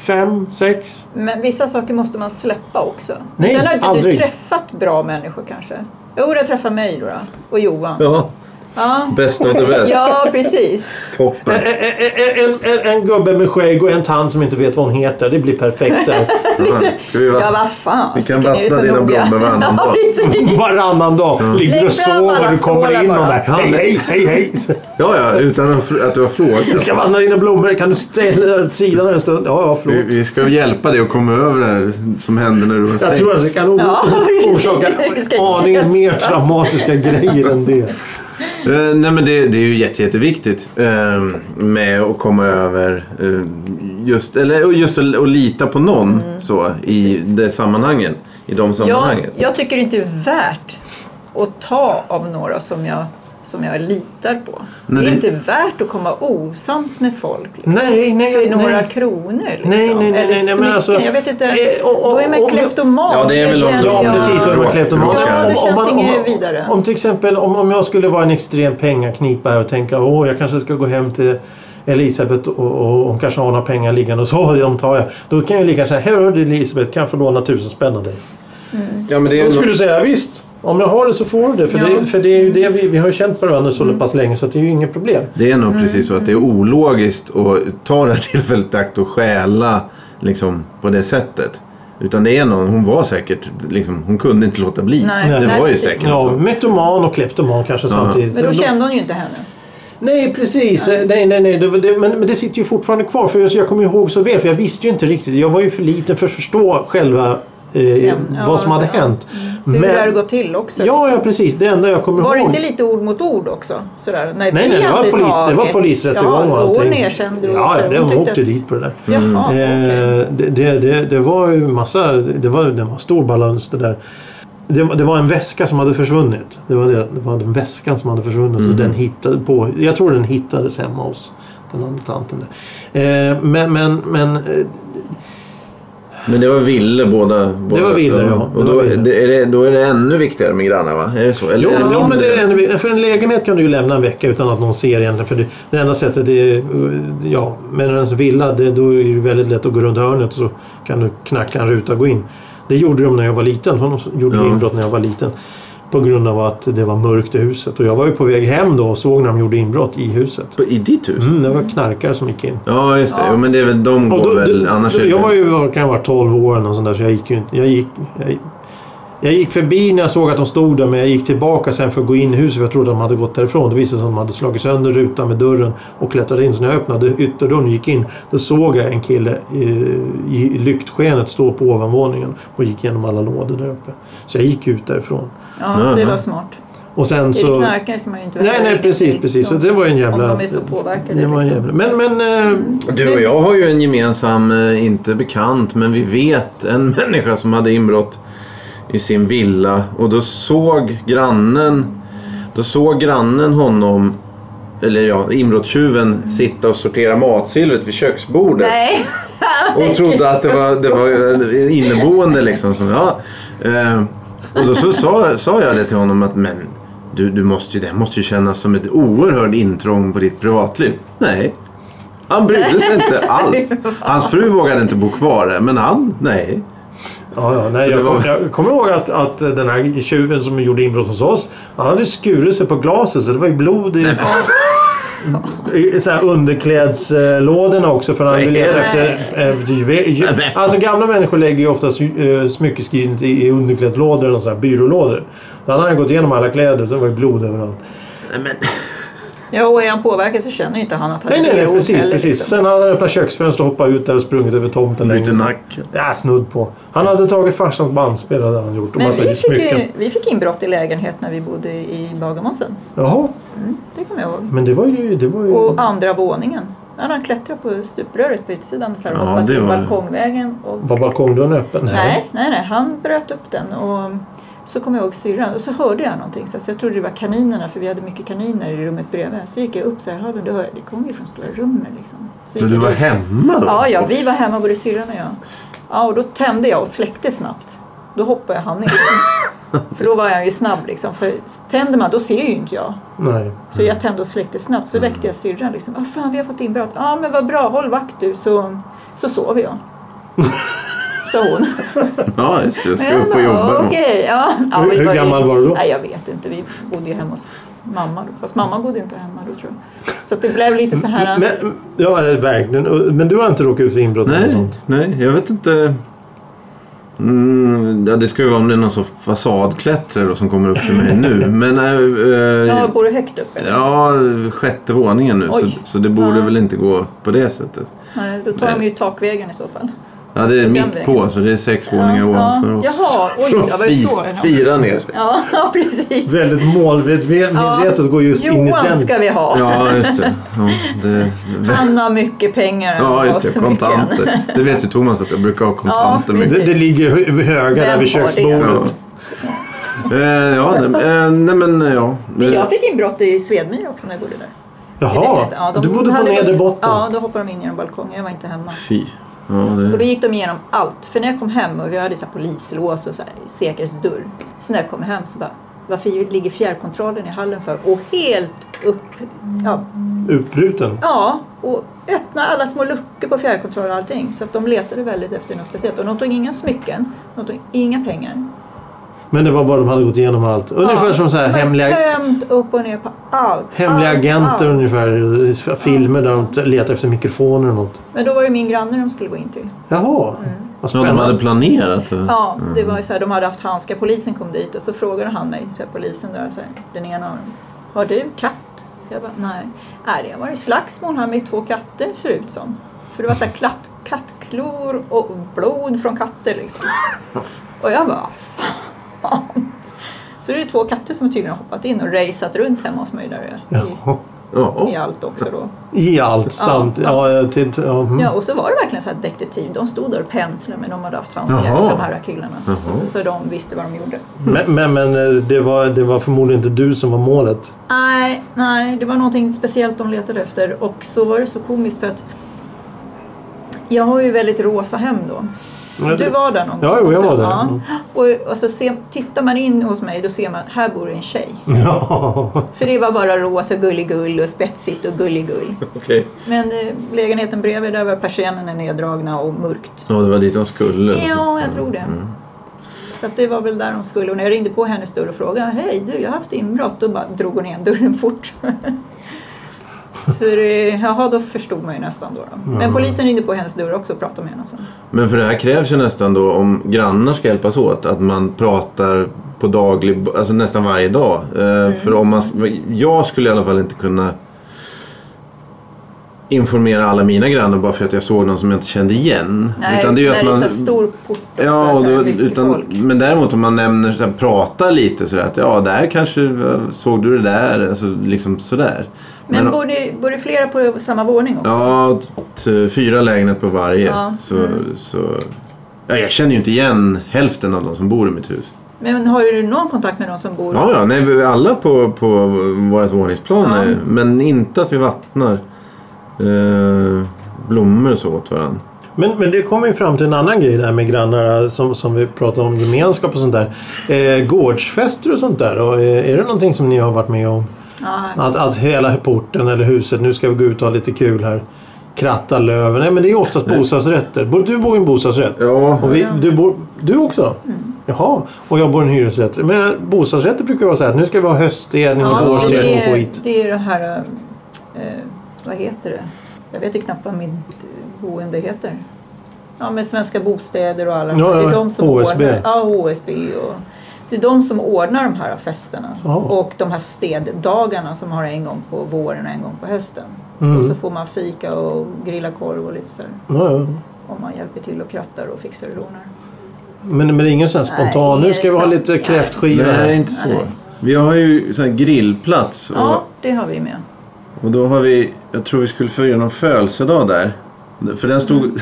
[SPEAKER 1] Fem, sex?
[SPEAKER 3] Men vissa saker måste man släppa också.
[SPEAKER 1] Nej,
[SPEAKER 3] Sen har inte
[SPEAKER 1] aldrig.
[SPEAKER 3] du träffat bra människor kanske. Jo, du har träffat mig då, då och Johan.
[SPEAKER 2] Ja.
[SPEAKER 3] Ja.
[SPEAKER 2] Bäst av det bäst.
[SPEAKER 3] ja, precis.
[SPEAKER 2] Toppen.
[SPEAKER 1] En, en, en, en gubbe med skägg och en tant som inte vet vad hon heter. Det blir perfekt där.
[SPEAKER 2] Ja, Ska vi
[SPEAKER 3] Ja,
[SPEAKER 2] va?
[SPEAKER 3] vad fan.
[SPEAKER 2] Vi kan
[SPEAKER 3] Vilken är
[SPEAKER 2] vattna
[SPEAKER 3] det så
[SPEAKER 2] dina
[SPEAKER 3] noga?
[SPEAKER 2] blommor Mm. varannan dag.
[SPEAKER 3] Ja, precis.
[SPEAKER 1] Varannan dag
[SPEAKER 2] Mm.
[SPEAKER 1] ligger
[SPEAKER 3] Lägg
[SPEAKER 1] och
[SPEAKER 3] fram
[SPEAKER 1] sover
[SPEAKER 3] alla
[SPEAKER 1] och kommer
[SPEAKER 3] skålar
[SPEAKER 1] in någon
[SPEAKER 3] bara.
[SPEAKER 1] där. Hej, hej, hej, hej.
[SPEAKER 2] ja, ja, utan att fr- att du har
[SPEAKER 1] Vi
[SPEAKER 2] frågat.
[SPEAKER 1] ska vandra dina blommor. Kan du ställa dig åt sidan en stund? Ja, ja,
[SPEAKER 2] Vi,
[SPEAKER 1] förlåt.
[SPEAKER 2] vi ska hjälpa dig att komma över det här som hände när du var
[SPEAKER 1] Jag
[SPEAKER 2] sex.
[SPEAKER 1] tror att det kan o-
[SPEAKER 3] Ja,
[SPEAKER 1] orsaka
[SPEAKER 3] vi ska-
[SPEAKER 1] aningen mer traumatiska grejer än det.
[SPEAKER 2] Eh, nej men det, det är ju jätte, jätteviktigt eh, med att komma över eh, just, eller, och just att, att lita på någon
[SPEAKER 3] Mm.
[SPEAKER 2] så, i det sammanhangen. I de
[SPEAKER 3] Jag,
[SPEAKER 2] sammanhangen.
[SPEAKER 3] jag tycker inte det är värt att ta av några som jag, som jag litar på.
[SPEAKER 2] Men
[SPEAKER 3] det är
[SPEAKER 2] det-
[SPEAKER 3] inte värt att komma osams med folk. Liksom.
[SPEAKER 1] Nej, nej,
[SPEAKER 3] för några
[SPEAKER 1] Alltså, nej.
[SPEAKER 3] kronor liksom.
[SPEAKER 1] Nej, nej, nej,
[SPEAKER 3] Eller
[SPEAKER 1] nej, men
[SPEAKER 3] smycken.
[SPEAKER 1] alltså-
[SPEAKER 3] jag vet inte.
[SPEAKER 1] Eh, och- och-
[SPEAKER 3] då är man
[SPEAKER 1] och-
[SPEAKER 3] kleptoman.
[SPEAKER 2] Ja, det är väl om-
[SPEAKER 3] känner
[SPEAKER 1] Ja,
[SPEAKER 2] Ja,
[SPEAKER 1] precis. Då är man
[SPEAKER 2] råk-
[SPEAKER 1] kleptoman.
[SPEAKER 2] råkar.
[SPEAKER 1] Om-
[SPEAKER 2] Ja, det
[SPEAKER 1] om
[SPEAKER 3] känns
[SPEAKER 1] man- om-
[SPEAKER 3] inget vidare.
[SPEAKER 1] Om till exempel om, om jag skulle vara en extrem pengaknipa här och tänka åh, jag kanske ska gå hem till Elisabeth och, och hon kanske har några pengar liggande och så de tar jag. Då kan jag lika gärna säga, här hör du Elisabeth, kan jag få låna tusen spänn av dig?
[SPEAKER 2] Ja, men det är
[SPEAKER 1] Då
[SPEAKER 2] ju
[SPEAKER 1] skulle du säga visst. Om jag har det så får du det. För,
[SPEAKER 3] Ja. Mm.
[SPEAKER 1] det, för det är ju det vi, vi har ju känt på varandra så pass länge så att det är ju inget problem.
[SPEAKER 2] Det är nog precis så att det är ologiskt att ta det här tillfället i akt och stjäla liksom, på det sättet. Utan det är någon, hon var säkert, liksom, hon kunde inte låta bli.
[SPEAKER 3] Nej,
[SPEAKER 2] det
[SPEAKER 3] nej,
[SPEAKER 2] var ju
[SPEAKER 3] precis.
[SPEAKER 2] säkert
[SPEAKER 1] Ja,
[SPEAKER 2] så.
[SPEAKER 1] metoman och kleptoman kanske samtidigt.
[SPEAKER 3] Men då kände hon ju inte henne.
[SPEAKER 1] Nej, precis. Eh, Nej, nej, nej. Det, var- det, men, men det sitter ju fortfarande kvar. För jag, jag kommer ihåg så väl. För jag visste ju inte riktigt. Jag var ju för liten för att förstå själva eh,
[SPEAKER 3] Ja, ja,
[SPEAKER 1] vad som hade
[SPEAKER 3] ja. Mm.
[SPEAKER 1] hänt.
[SPEAKER 3] Hur det hade
[SPEAKER 1] Men,
[SPEAKER 3] gått till också.
[SPEAKER 1] ja, ja, precis. Det enda jag kommer
[SPEAKER 3] Var det
[SPEAKER 1] ihåg.
[SPEAKER 3] inte lite ord mot ord också? Sådär. Nej,
[SPEAKER 1] nej, nej, det var, polis, det var polisrättegång
[SPEAKER 3] ja,
[SPEAKER 1] och
[SPEAKER 3] och
[SPEAKER 1] allting.
[SPEAKER 3] hon erkände och
[SPEAKER 1] Ja, ja,
[SPEAKER 3] så.
[SPEAKER 1] det-
[SPEAKER 3] Hon
[SPEAKER 1] de
[SPEAKER 3] tyckte
[SPEAKER 1] åkte
[SPEAKER 3] att-
[SPEAKER 1] dit på det där.
[SPEAKER 3] Jaha, okej.
[SPEAKER 1] Eh, det, det, det, det var ju massa, det var, det var stor balans det där. Det, var- det var en väska som hade försvunnit. Det var, det, det var den väskan som hade försvunnit och den hittade på, jag tror den hittades hemma hos den andra tanten där. Eh, men, men, men eh,
[SPEAKER 2] Men det var ville båda. båda
[SPEAKER 1] var villor, ja.
[SPEAKER 2] Och
[SPEAKER 1] Det
[SPEAKER 2] då,
[SPEAKER 1] var villor.
[SPEAKER 2] det, är det, då är det ännu viktigare med grannar va? Är det så? Eller
[SPEAKER 1] jo,
[SPEAKER 2] är det
[SPEAKER 1] jo, men
[SPEAKER 2] mindre?
[SPEAKER 1] det är en, för en lägenhet kan du ju lämna en vecka utan att någon ser egentligen. För det, det enda sättet är, eh, ja, men ens villa, det, då är det ju väldigt lätt att gå runt hörnet och så kan du knacka en ruta och gå in. Det gjorde de när jag var liten. De gjorde
[SPEAKER 2] Ja.
[SPEAKER 1] inbrott när jag var liten. På grund av att det var mörkt i huset. Och jag var ju på väg hem då och såg när de gjorde inbrott i huset.
[SPEAKER 2] På- I ditt hus?
[SPEAKER 1] Mm, det var knarkare som gick in.
[SPEAKER 2] Ja, just det. Jo, men det är väl, de
[SPEAKER 1] Och
[SPEAKER 2] går
[SPEAKER 1] då,
[SPEAKER 2] väl...
[SPEAKER 1] då,
[SPEAKER 2] annars är
[SPEAKER 1] då,
[SPEAKER 2] det...
[SPEAKER 1] jag var ju vad kan jag vara 12 år och sånt där, så jag gick ju inte... Jag gick, jag, jag gick förbi när jag såg att de stod där men jag gick tillbaka sen för att gå in i huset för jag trodde att de hade gått därifrån. Det visade sig att de hade slagit sönder rutan med dörren och klättrat in. Så när jag öppnade ytterdörren och gick in då såg jag en kille i, i lyktskenet stå på ovanvåningen och gick igenom alla lådor där uppe. Så jag gick ut därifrån.
[SPEAKER 3] Ja, det
[SPEAKER 2] Mhm.
[SPEAKER 3] var smart.
[SPEAKER 1] Och sen
[SPEAKER 3] Är det
[SPEAKER 1] mm. så...
[SPEAKER 3] knarkare ska man ju inte
[SPEAKER 1] Nej, nej precis, precis. Så det var ju en jävla...
[SPEAKER 3] Om de är så påverkade.
[SPEAKER 1] det var en
[SPEAKER 3] liksom.
[SPEAKER 1] jävla. Men, men... eh,
[SPEAKER 2] Du och jag har ju en gemensam, eh, inte bekant, men vi vet en människa som hade inbrott i sin villa. Och då såg grannen, då såg grannen honom, eller ja, inbrottstjuven sitta och sortera matsilvret vid köksbordet.
[SPEAKER 3] Nej,
[SPEAKER 2] Och trodde att det var, det var inneboende liksom. Som, ja. eh, och då så sa, sa jag det till honom att men du, du måste ju, det måste ju kännas som ett oerhört intrång på ditt privatliv. Nej. Han brydde sig inte alls. Hans fru vågade inte bo kvar där, men han, nej.
[SPEAKER 1] Ja, ja, nej,
[SPEAKER 2] Så det
[SPEAKER 1] jag,
[SPEAKER 2] var-
[SPEAKER 1] kom, jag kommer ihåg att, att den här tjuven som gjorde inbrott hos oss. Han hade skurit sig på glaset så det var ju blod i, i, i så här underklädslådorna också. För han ville leta
[SPEAKER 2] Nej.
[SPEAKER 1] efter... efter juve- ju- Alltså gamla människor lägger ju oftast eh, smyckeskrinet i, i underklädslådor och så här byrålådor. Då hade han gått igenom alla kläder så det var ju blod överallt.
[SPEAKER 3] ja, och är han påverkad så känner ju inte han att han
[SPEAKER 1] Nej,
[SPEAKER 3] är
[SPEAKER 1] nej, nej
[SPEAKER 3] idiot
[SPEAKER 1] precis,
[SPEAKER 3] heller,
[SPEAKER 1] precis.
[SPEAKER 3] liksom.
[SPEAKER 1] Sen hade han öppnat köksfönstret och hoppat ut där och sprungit över tomten.
[SPEAKER 2] Bytte
[SPEAKER 1] längre.
[SPEAKER 2] nacken.
[SPEAKER 1] Ja, snudd på. Han hade tagit farsans bandspelare hade han gjort. Och
[SPEAKER 3] Men
[SPEAKER 1] massa
[SPEAKER 3] vi fick,
[SPEAKER 1] smycken.
[SPEAKER 3] ju, vi fick inbrott i lägenhet när vi bodde i Bagarmossen.
[SPEAKER 1] Jaha.
[SPEAKER 3] Det kommer jag ihåg.
[SPEAKER 2] Mm.
[SPEAKER 1] Men det var ju... Det var ju...
[SPEAKER 3] Och andra våningen. Där hade han klättrat på stupröret på utsidan så här,
[SPEAKER 2] Ja,
[SPEAKER 3] och hoppat
[SPEAKER 2] det
[SPEAKER 3] in
[SPEAKER 2] var det.
[SPEAKER 3] balkongvägen. Och...
[SPEAKER 1] Var balkongdörren öppen?
[SPEAKER 3] Nej, nej, nej. Han bröt upp den. Och så kom jag ihåg syrran och så hörde jag någonting. Så jag trodde det var kaninerna för vi hade mycket kaniner i rummet bredvid. Så gick jag upp så här, "Hörde du, hör- det kom ju från stora rummet liksom. Så
[SPEAKER 2] Men
[SPEAKER 3] gick
[SPEAKER 2] du
[SPEAKER 3] jag
[SPEAKER 2] var
[SPEAKER 3] dit.
[SPEAKER 2] hemma då?
[SPEAKER 3] Ja, ja, vi var hemma både syrran och jag. Ja, och då tände jag och släckte snabbt. Då hoppade jag han ner. För då var jag ju snabb liksom. För tänder man, då ser ju inte jag.
[SPEAKER 1] Nej.
[SPEAKER 3] Så jag tände och släckte snabbt. Så väckte jag syrran liksom. Ah, fan, vi har fått inbrott. Ja, ah, men vad bra. Håll vakt du. Så, så sover jag. Sa hon.
[SPEAKER 2] Ja, just det. Jag ska upp och
[SPEAKER 3] Ja,
[SPEAKER 2] jobba.
[SPEAKER 3] Okej, ja. ja
[SPEAKER 1] Hur-
[SPEAKER 3] vi
[SPEAKER 1] hur
[SPEAKER 3] var ju-
[SPEAKER 1] gammal var du då?
[SPEAKER 3] Nej, jag vet inte. Vi bodde ju hemma hos mamma. Då. Fast mamma bodde inte hemma då tror jag. Så att det blev lite så här...
[SPEAKER 1] Men, ja, verkligen. Men du har inte råkat ut för inbrott eller
[SPEAKER 2] Nej,
[SPEAKER 1] sånt?
[SPEAKER 2] nej, jag vet inte. Mm, ja, det ska ju vara om det är någon sån fasadklättrare då som kommer upp till mig nu. Men eh, eh,
[SPEAKER 3] Ja, bor du högt upp eller?
[SPEAKER 2] ja, sjätte våningen nu så,
[SPEAKER 3] Oj.
[SPEAKER 2] så det borde
[SPEAKER 3] Ja.
[SPEAKER 2] väl inte gå på det sättet.
[SPEAKER 3] Nej, då tar
[SPEAKER 2] Nej.
[SPEAKER 3] de ju takvägen i så fall.
[SPEAKER 2] Ja, det är
[SPEAKER 3] Den
[SPEAKER 2] mitt på så det är sex våningar ovanför också.
[SPEAKER 3] Jaha, oj, jag var ju så.
[SPEAKER 2] Fy- Fyra ner.
[SPEAKER 3] Ja, ja, precis.
[SPEAKER 1] Väldigt målmedvetet
[SPEAKER 3] Ja.
[SPEAKER 1] går just in i
[SPEAKER 3] Johan
[SPEAKER 1] den.
[SPEAKER 3] ska vi ha.
[SPEAKER 2] Ja, just det. Ja, det
[SPEAKER 3] Han har mycket pengar.
[SPEAKER 2] ja,
[SPEAKER 3] och
[SPEAKER 2] just det.
[SPEAKER 3] smycken.
[SPEAKER 2] Kontanter. Det vet ju Thomas att jag brukar ha kontanter.
[SPEAKER 3] Ja,
[SPEAKER 2] med.
[SPEAKER 1] Det, det ligger hö- höga där
[SPEAKER 3] Vem
[SPEAKER 1] vid
[SPEAKER 3] har det?
[SPEAKER 2] Ja.
[SPEAKER 1] köksbordet.
[SPEAKER 2] Eh, ja, nej, eh, nej men eh, ja.
[SPEAKER 3] Men jag fick inbrott i Svedmyr också när jag bodde där.
[SPEAKER 1] Jaha,
[SPEAKER 3] de
[SPEAKER 1] du bodde på
[SPEAKER 3] hade
[SPEAKER 1] nedre
[SPEAKER 3] gått-
[SPEAKER 1] botten.
[SPEAKER 3] Ja, då hoppade de in genom balkongen. Jag var inte hemma.
[SPEAKER 2] Fy. Ja,
[SPEAKER 3] Och då
[SPEAKER 2] det...
[SPEAKER 3] gick de igenom allt. För när jag kom hem och vi hade så här polislås och så här säkerhetsdörr. Så när jag kom hem så bara, varför ligger fjärrkontrollen i hallen för? Och helt upp, ja,
[SPEAKER 1] Utbruten.
[SPEAKER 3] ja och öppna alla små luckor på fjärrkontrollen och allting. Så att de letade väldigt efter något speciellt. Och de tog inga smycken, de tog inga pengar.
[SPEAKER 1] Men det var bara de hade gått igenom allt. Ungefär
[SPEAKER 3] Ja,
[SPEAKER 1] som så här
[SPEAKER 3] de har
[SPEAKER 1] hemliga,
[SPEAKER 3] Tömt upp och ner på allt.
[SPEAKER 1] hemliga
[SPEAKER 3] allt,
[SPEAKER 1] agenter
[SPEAKER 3] allt.
[SPEAKER 1] ungefär. i s- Filmer där de t- letar efter mikrofoner och något.
[SPEAKER 3] Men då var det min granne de skulle gå in till.
[SPEAKER 1] Jaha,
[SPEAKER 3] Mm.
[SPEAKER 1] vad
[SPEAKER 2] Ja, de
[SPEAKER 1] spännande.
[SPEAKER 2] hade planerat. eh.
[SPEAKER 3] Ja, det var ju så här, de hade haft handskar. Polisen kom dit och så frågade han mig, så här, polisen där, så här, den ena av dem. Har du katt? Jag bara, nej. Nej, det har varit slagsmål här med två katter ser det ut som. För det var så här klatt, kattklor och blod från katter liksom. Och jag bara, fan. Så det är ju två katter som tydligen har hoppat in och raceat runt hemma hos mig där
[SPEAKER 1] Jaha.
[SPEAKER 2] Ja. oh,
[SPEAKER 3] i, i allt också då.
[SPEAKER 2] Mm.
[SPEAKER 1] I allt
[SPEAKER 3] Ja.
[SPEAKER 1] samt... Ja, till, ja, mm.
[SPEAKER 3] Ja, och så var det verkligen så här detektiv. De stod där och penslade men de hade haft handskar,
[SPEAKER 2] Jaha.
[SPEAKER 3] de här killarna.
[SPEAKER 2] Jaha.
[SPEAKER 3] Så, så de visste vad de gjorde.
[SPEAKER 1] Men, men, men eh, det, var, det var förmodligen inte du som var målet.
[SPEAKER 3] Nej, nej, det var någonting speciellt de letade efter och så var det så komiskt för att jag har ju väldigt rosa hem då. Du var där någon
[SPEAKER 1] Ja,
[SPEAKER 3] gång?
[SPEAKER 1] jo, jag
[SPEAKER 3] också.
[SPEAKER 1] var där. Mm.
[SPEAKER 3] Ja. Och, och så ser- tittar man in hos mig då ser man, här bor en tjej.
[SPEAKER 1] Ja.
[SPEAKER 3] För det var bara rosa gulligull och spetsigt och gulligull.
[SPEAKER 2] Okej.
[SPEAKER 3] Men eh, lägenheten bredvid där var persiennerna neddragna och mörkt.
[SPEAKER 2] Ja, det var dit de skulle. liksom. Mm.
[SPEAKER 3] Ja, jag tror det. Så att det var väl där de skulle. Och när jag ringde på hennes dörr och frågade Hej du, jag har haft inbrott. Då bara drog hon igen dörren fort. Så det, jaha, då förstod man ju nästan då. då. Men polisen ringde på hennes dörr också och pratade med henne sen.
[SPEAKER 2] Men för det här krävs ju nästan då om grannar ska hjälpas åt att man pratar på daglig, alltså nästan varje dag. Eh,
[SPEAKER 3] Mm.
[SPEAKER 2] För om man, jag skulle i alla fall inte kunna informera alla mina grannar bara för att jag såg någon som jag inte kände igen.
[SPEAKER 3] Nej,
[SPEAKER 2] Utan det är ju att
[SPEAKER 3] när det är
[SPEAKER 2] man,
[SPEAKER 3] så stor port
[SPEAKER 2] Ja,
[SPEAKER 3] och så,
[SPEAKER 2] och
[SPEAKER 3] här,
[SPEAKER 2] då,
[SPEAKER 3] så här, mycket
[SPEAKER 2] utan,
[SPEAKER 3] folk.
[SPEAKER 2] men däremot om man nämner, så här, pratar lite sådär att ja, där kanske eh, såg du det där, alltså liksom sådär.
[SPEAKER 3] Men, bor, det, bor det flera på samma våning också?
[SPEAKER 2] Ja, t- t- fyra lägenheter på varje.
[SPEAKER 3] Ja, mm.
[SPEAKER 2] Så, så, ja, jag känner ju inte igen hälften av de som bor i mitt hus.
[SPEAKER 3] Men har du någon kontakt med de som bor?
[SPEAKER 2] Ja, ja, nej, vi- alla på, på vårt våningsplan
[SPEAKER 3] Ja.
[SPEAKER 2] är, men inte att vi vattnar eh, blommor så åt varandra.
[SPEAKER 1] Men, men det kommer ju fram till en annan grej där med grannar eh, som, som vi pratade om gemenskap och sånt där. Eh, gårdsfester och sånt där. Och, eh, är det någonting som ni har varit med om?
[SPEAKER 3] Ja,
[SPEAKER 1] Att, att hela porten eller huset, nu ska vi gå ut och ha lite kul här. Kratta löven. Nej men det är ju oftast bostadsrätter. Bo- Du bor i en bostadsrätt.
[SPEAKER 2] Ja.
[SPEAKER 1] Och vi, du, bor, du också?
[SPEAKER 3] Mm.
[SPEAKER 1] Jaha. Och jag bor i en hyresrätt. Men bostadsrätter brukar vara så här att nu ska vi ha höststädning och
[SPEAKER 3] ja,
[SPEAKER 1] vårstädning
[SPEAKER 3] det,
[SPEAKER 1] och
[SPEAKER 3] är,
[SPEAKER 1] skit.
[SPEAKER 3] det är det här... eh, vad heter det? Jag vet ju knappt vad mitt eh, boende heter. Ja, men Svenska Bostäder och alla.
[SPEAKER 1] Ja,
[SPEAKER 3] det
[SPEAKER 1] ja,
[SPEAKER 3] är de som
[SPEAKER 1] HSB.
[SPEAKER 3] Ordnar, ja, HSB och... Det är de som ordnar de här festerna
[SPEAKER 1] Ja.
[SPEAKER 3] och de här städdagarna som har en gång på våren och en gång på hösten.
[SPEAKER 1] Mm.
[SPEAKER 3] Och så får man fika och grilla korv och lite så här.
[SPEAKER 1] Ja, ja.
[SPEAKER 3] Om man hjälper till och krattar och fixar och donar.
[SPEAKER 1] Men, men det är ingen sån här
[SPEAKER 3] Nej,
[SPEAKER 1] spontan,
[SPEAKER 3] det är
[SPEAKER 1] nu ska vi ha
[SPEAKER 3] sant.
[SPEAKER 1] lite
[SPEAKER 3] Nej.
[SPEAKER 1] kräftskiva.
[SPEAKER 2] Nej, inte så.
[SPEAKER 3] Nej.
[SPEAKER 2] Vi har ju sån här grillplats. Och,
[SPEAKER 3] Ja, det har vi med.
[SPEAKER 2] Och då har vi, jag tror vi skulle fira någon födelsedag där. För den stod,
[SPEAKER 3] Mm.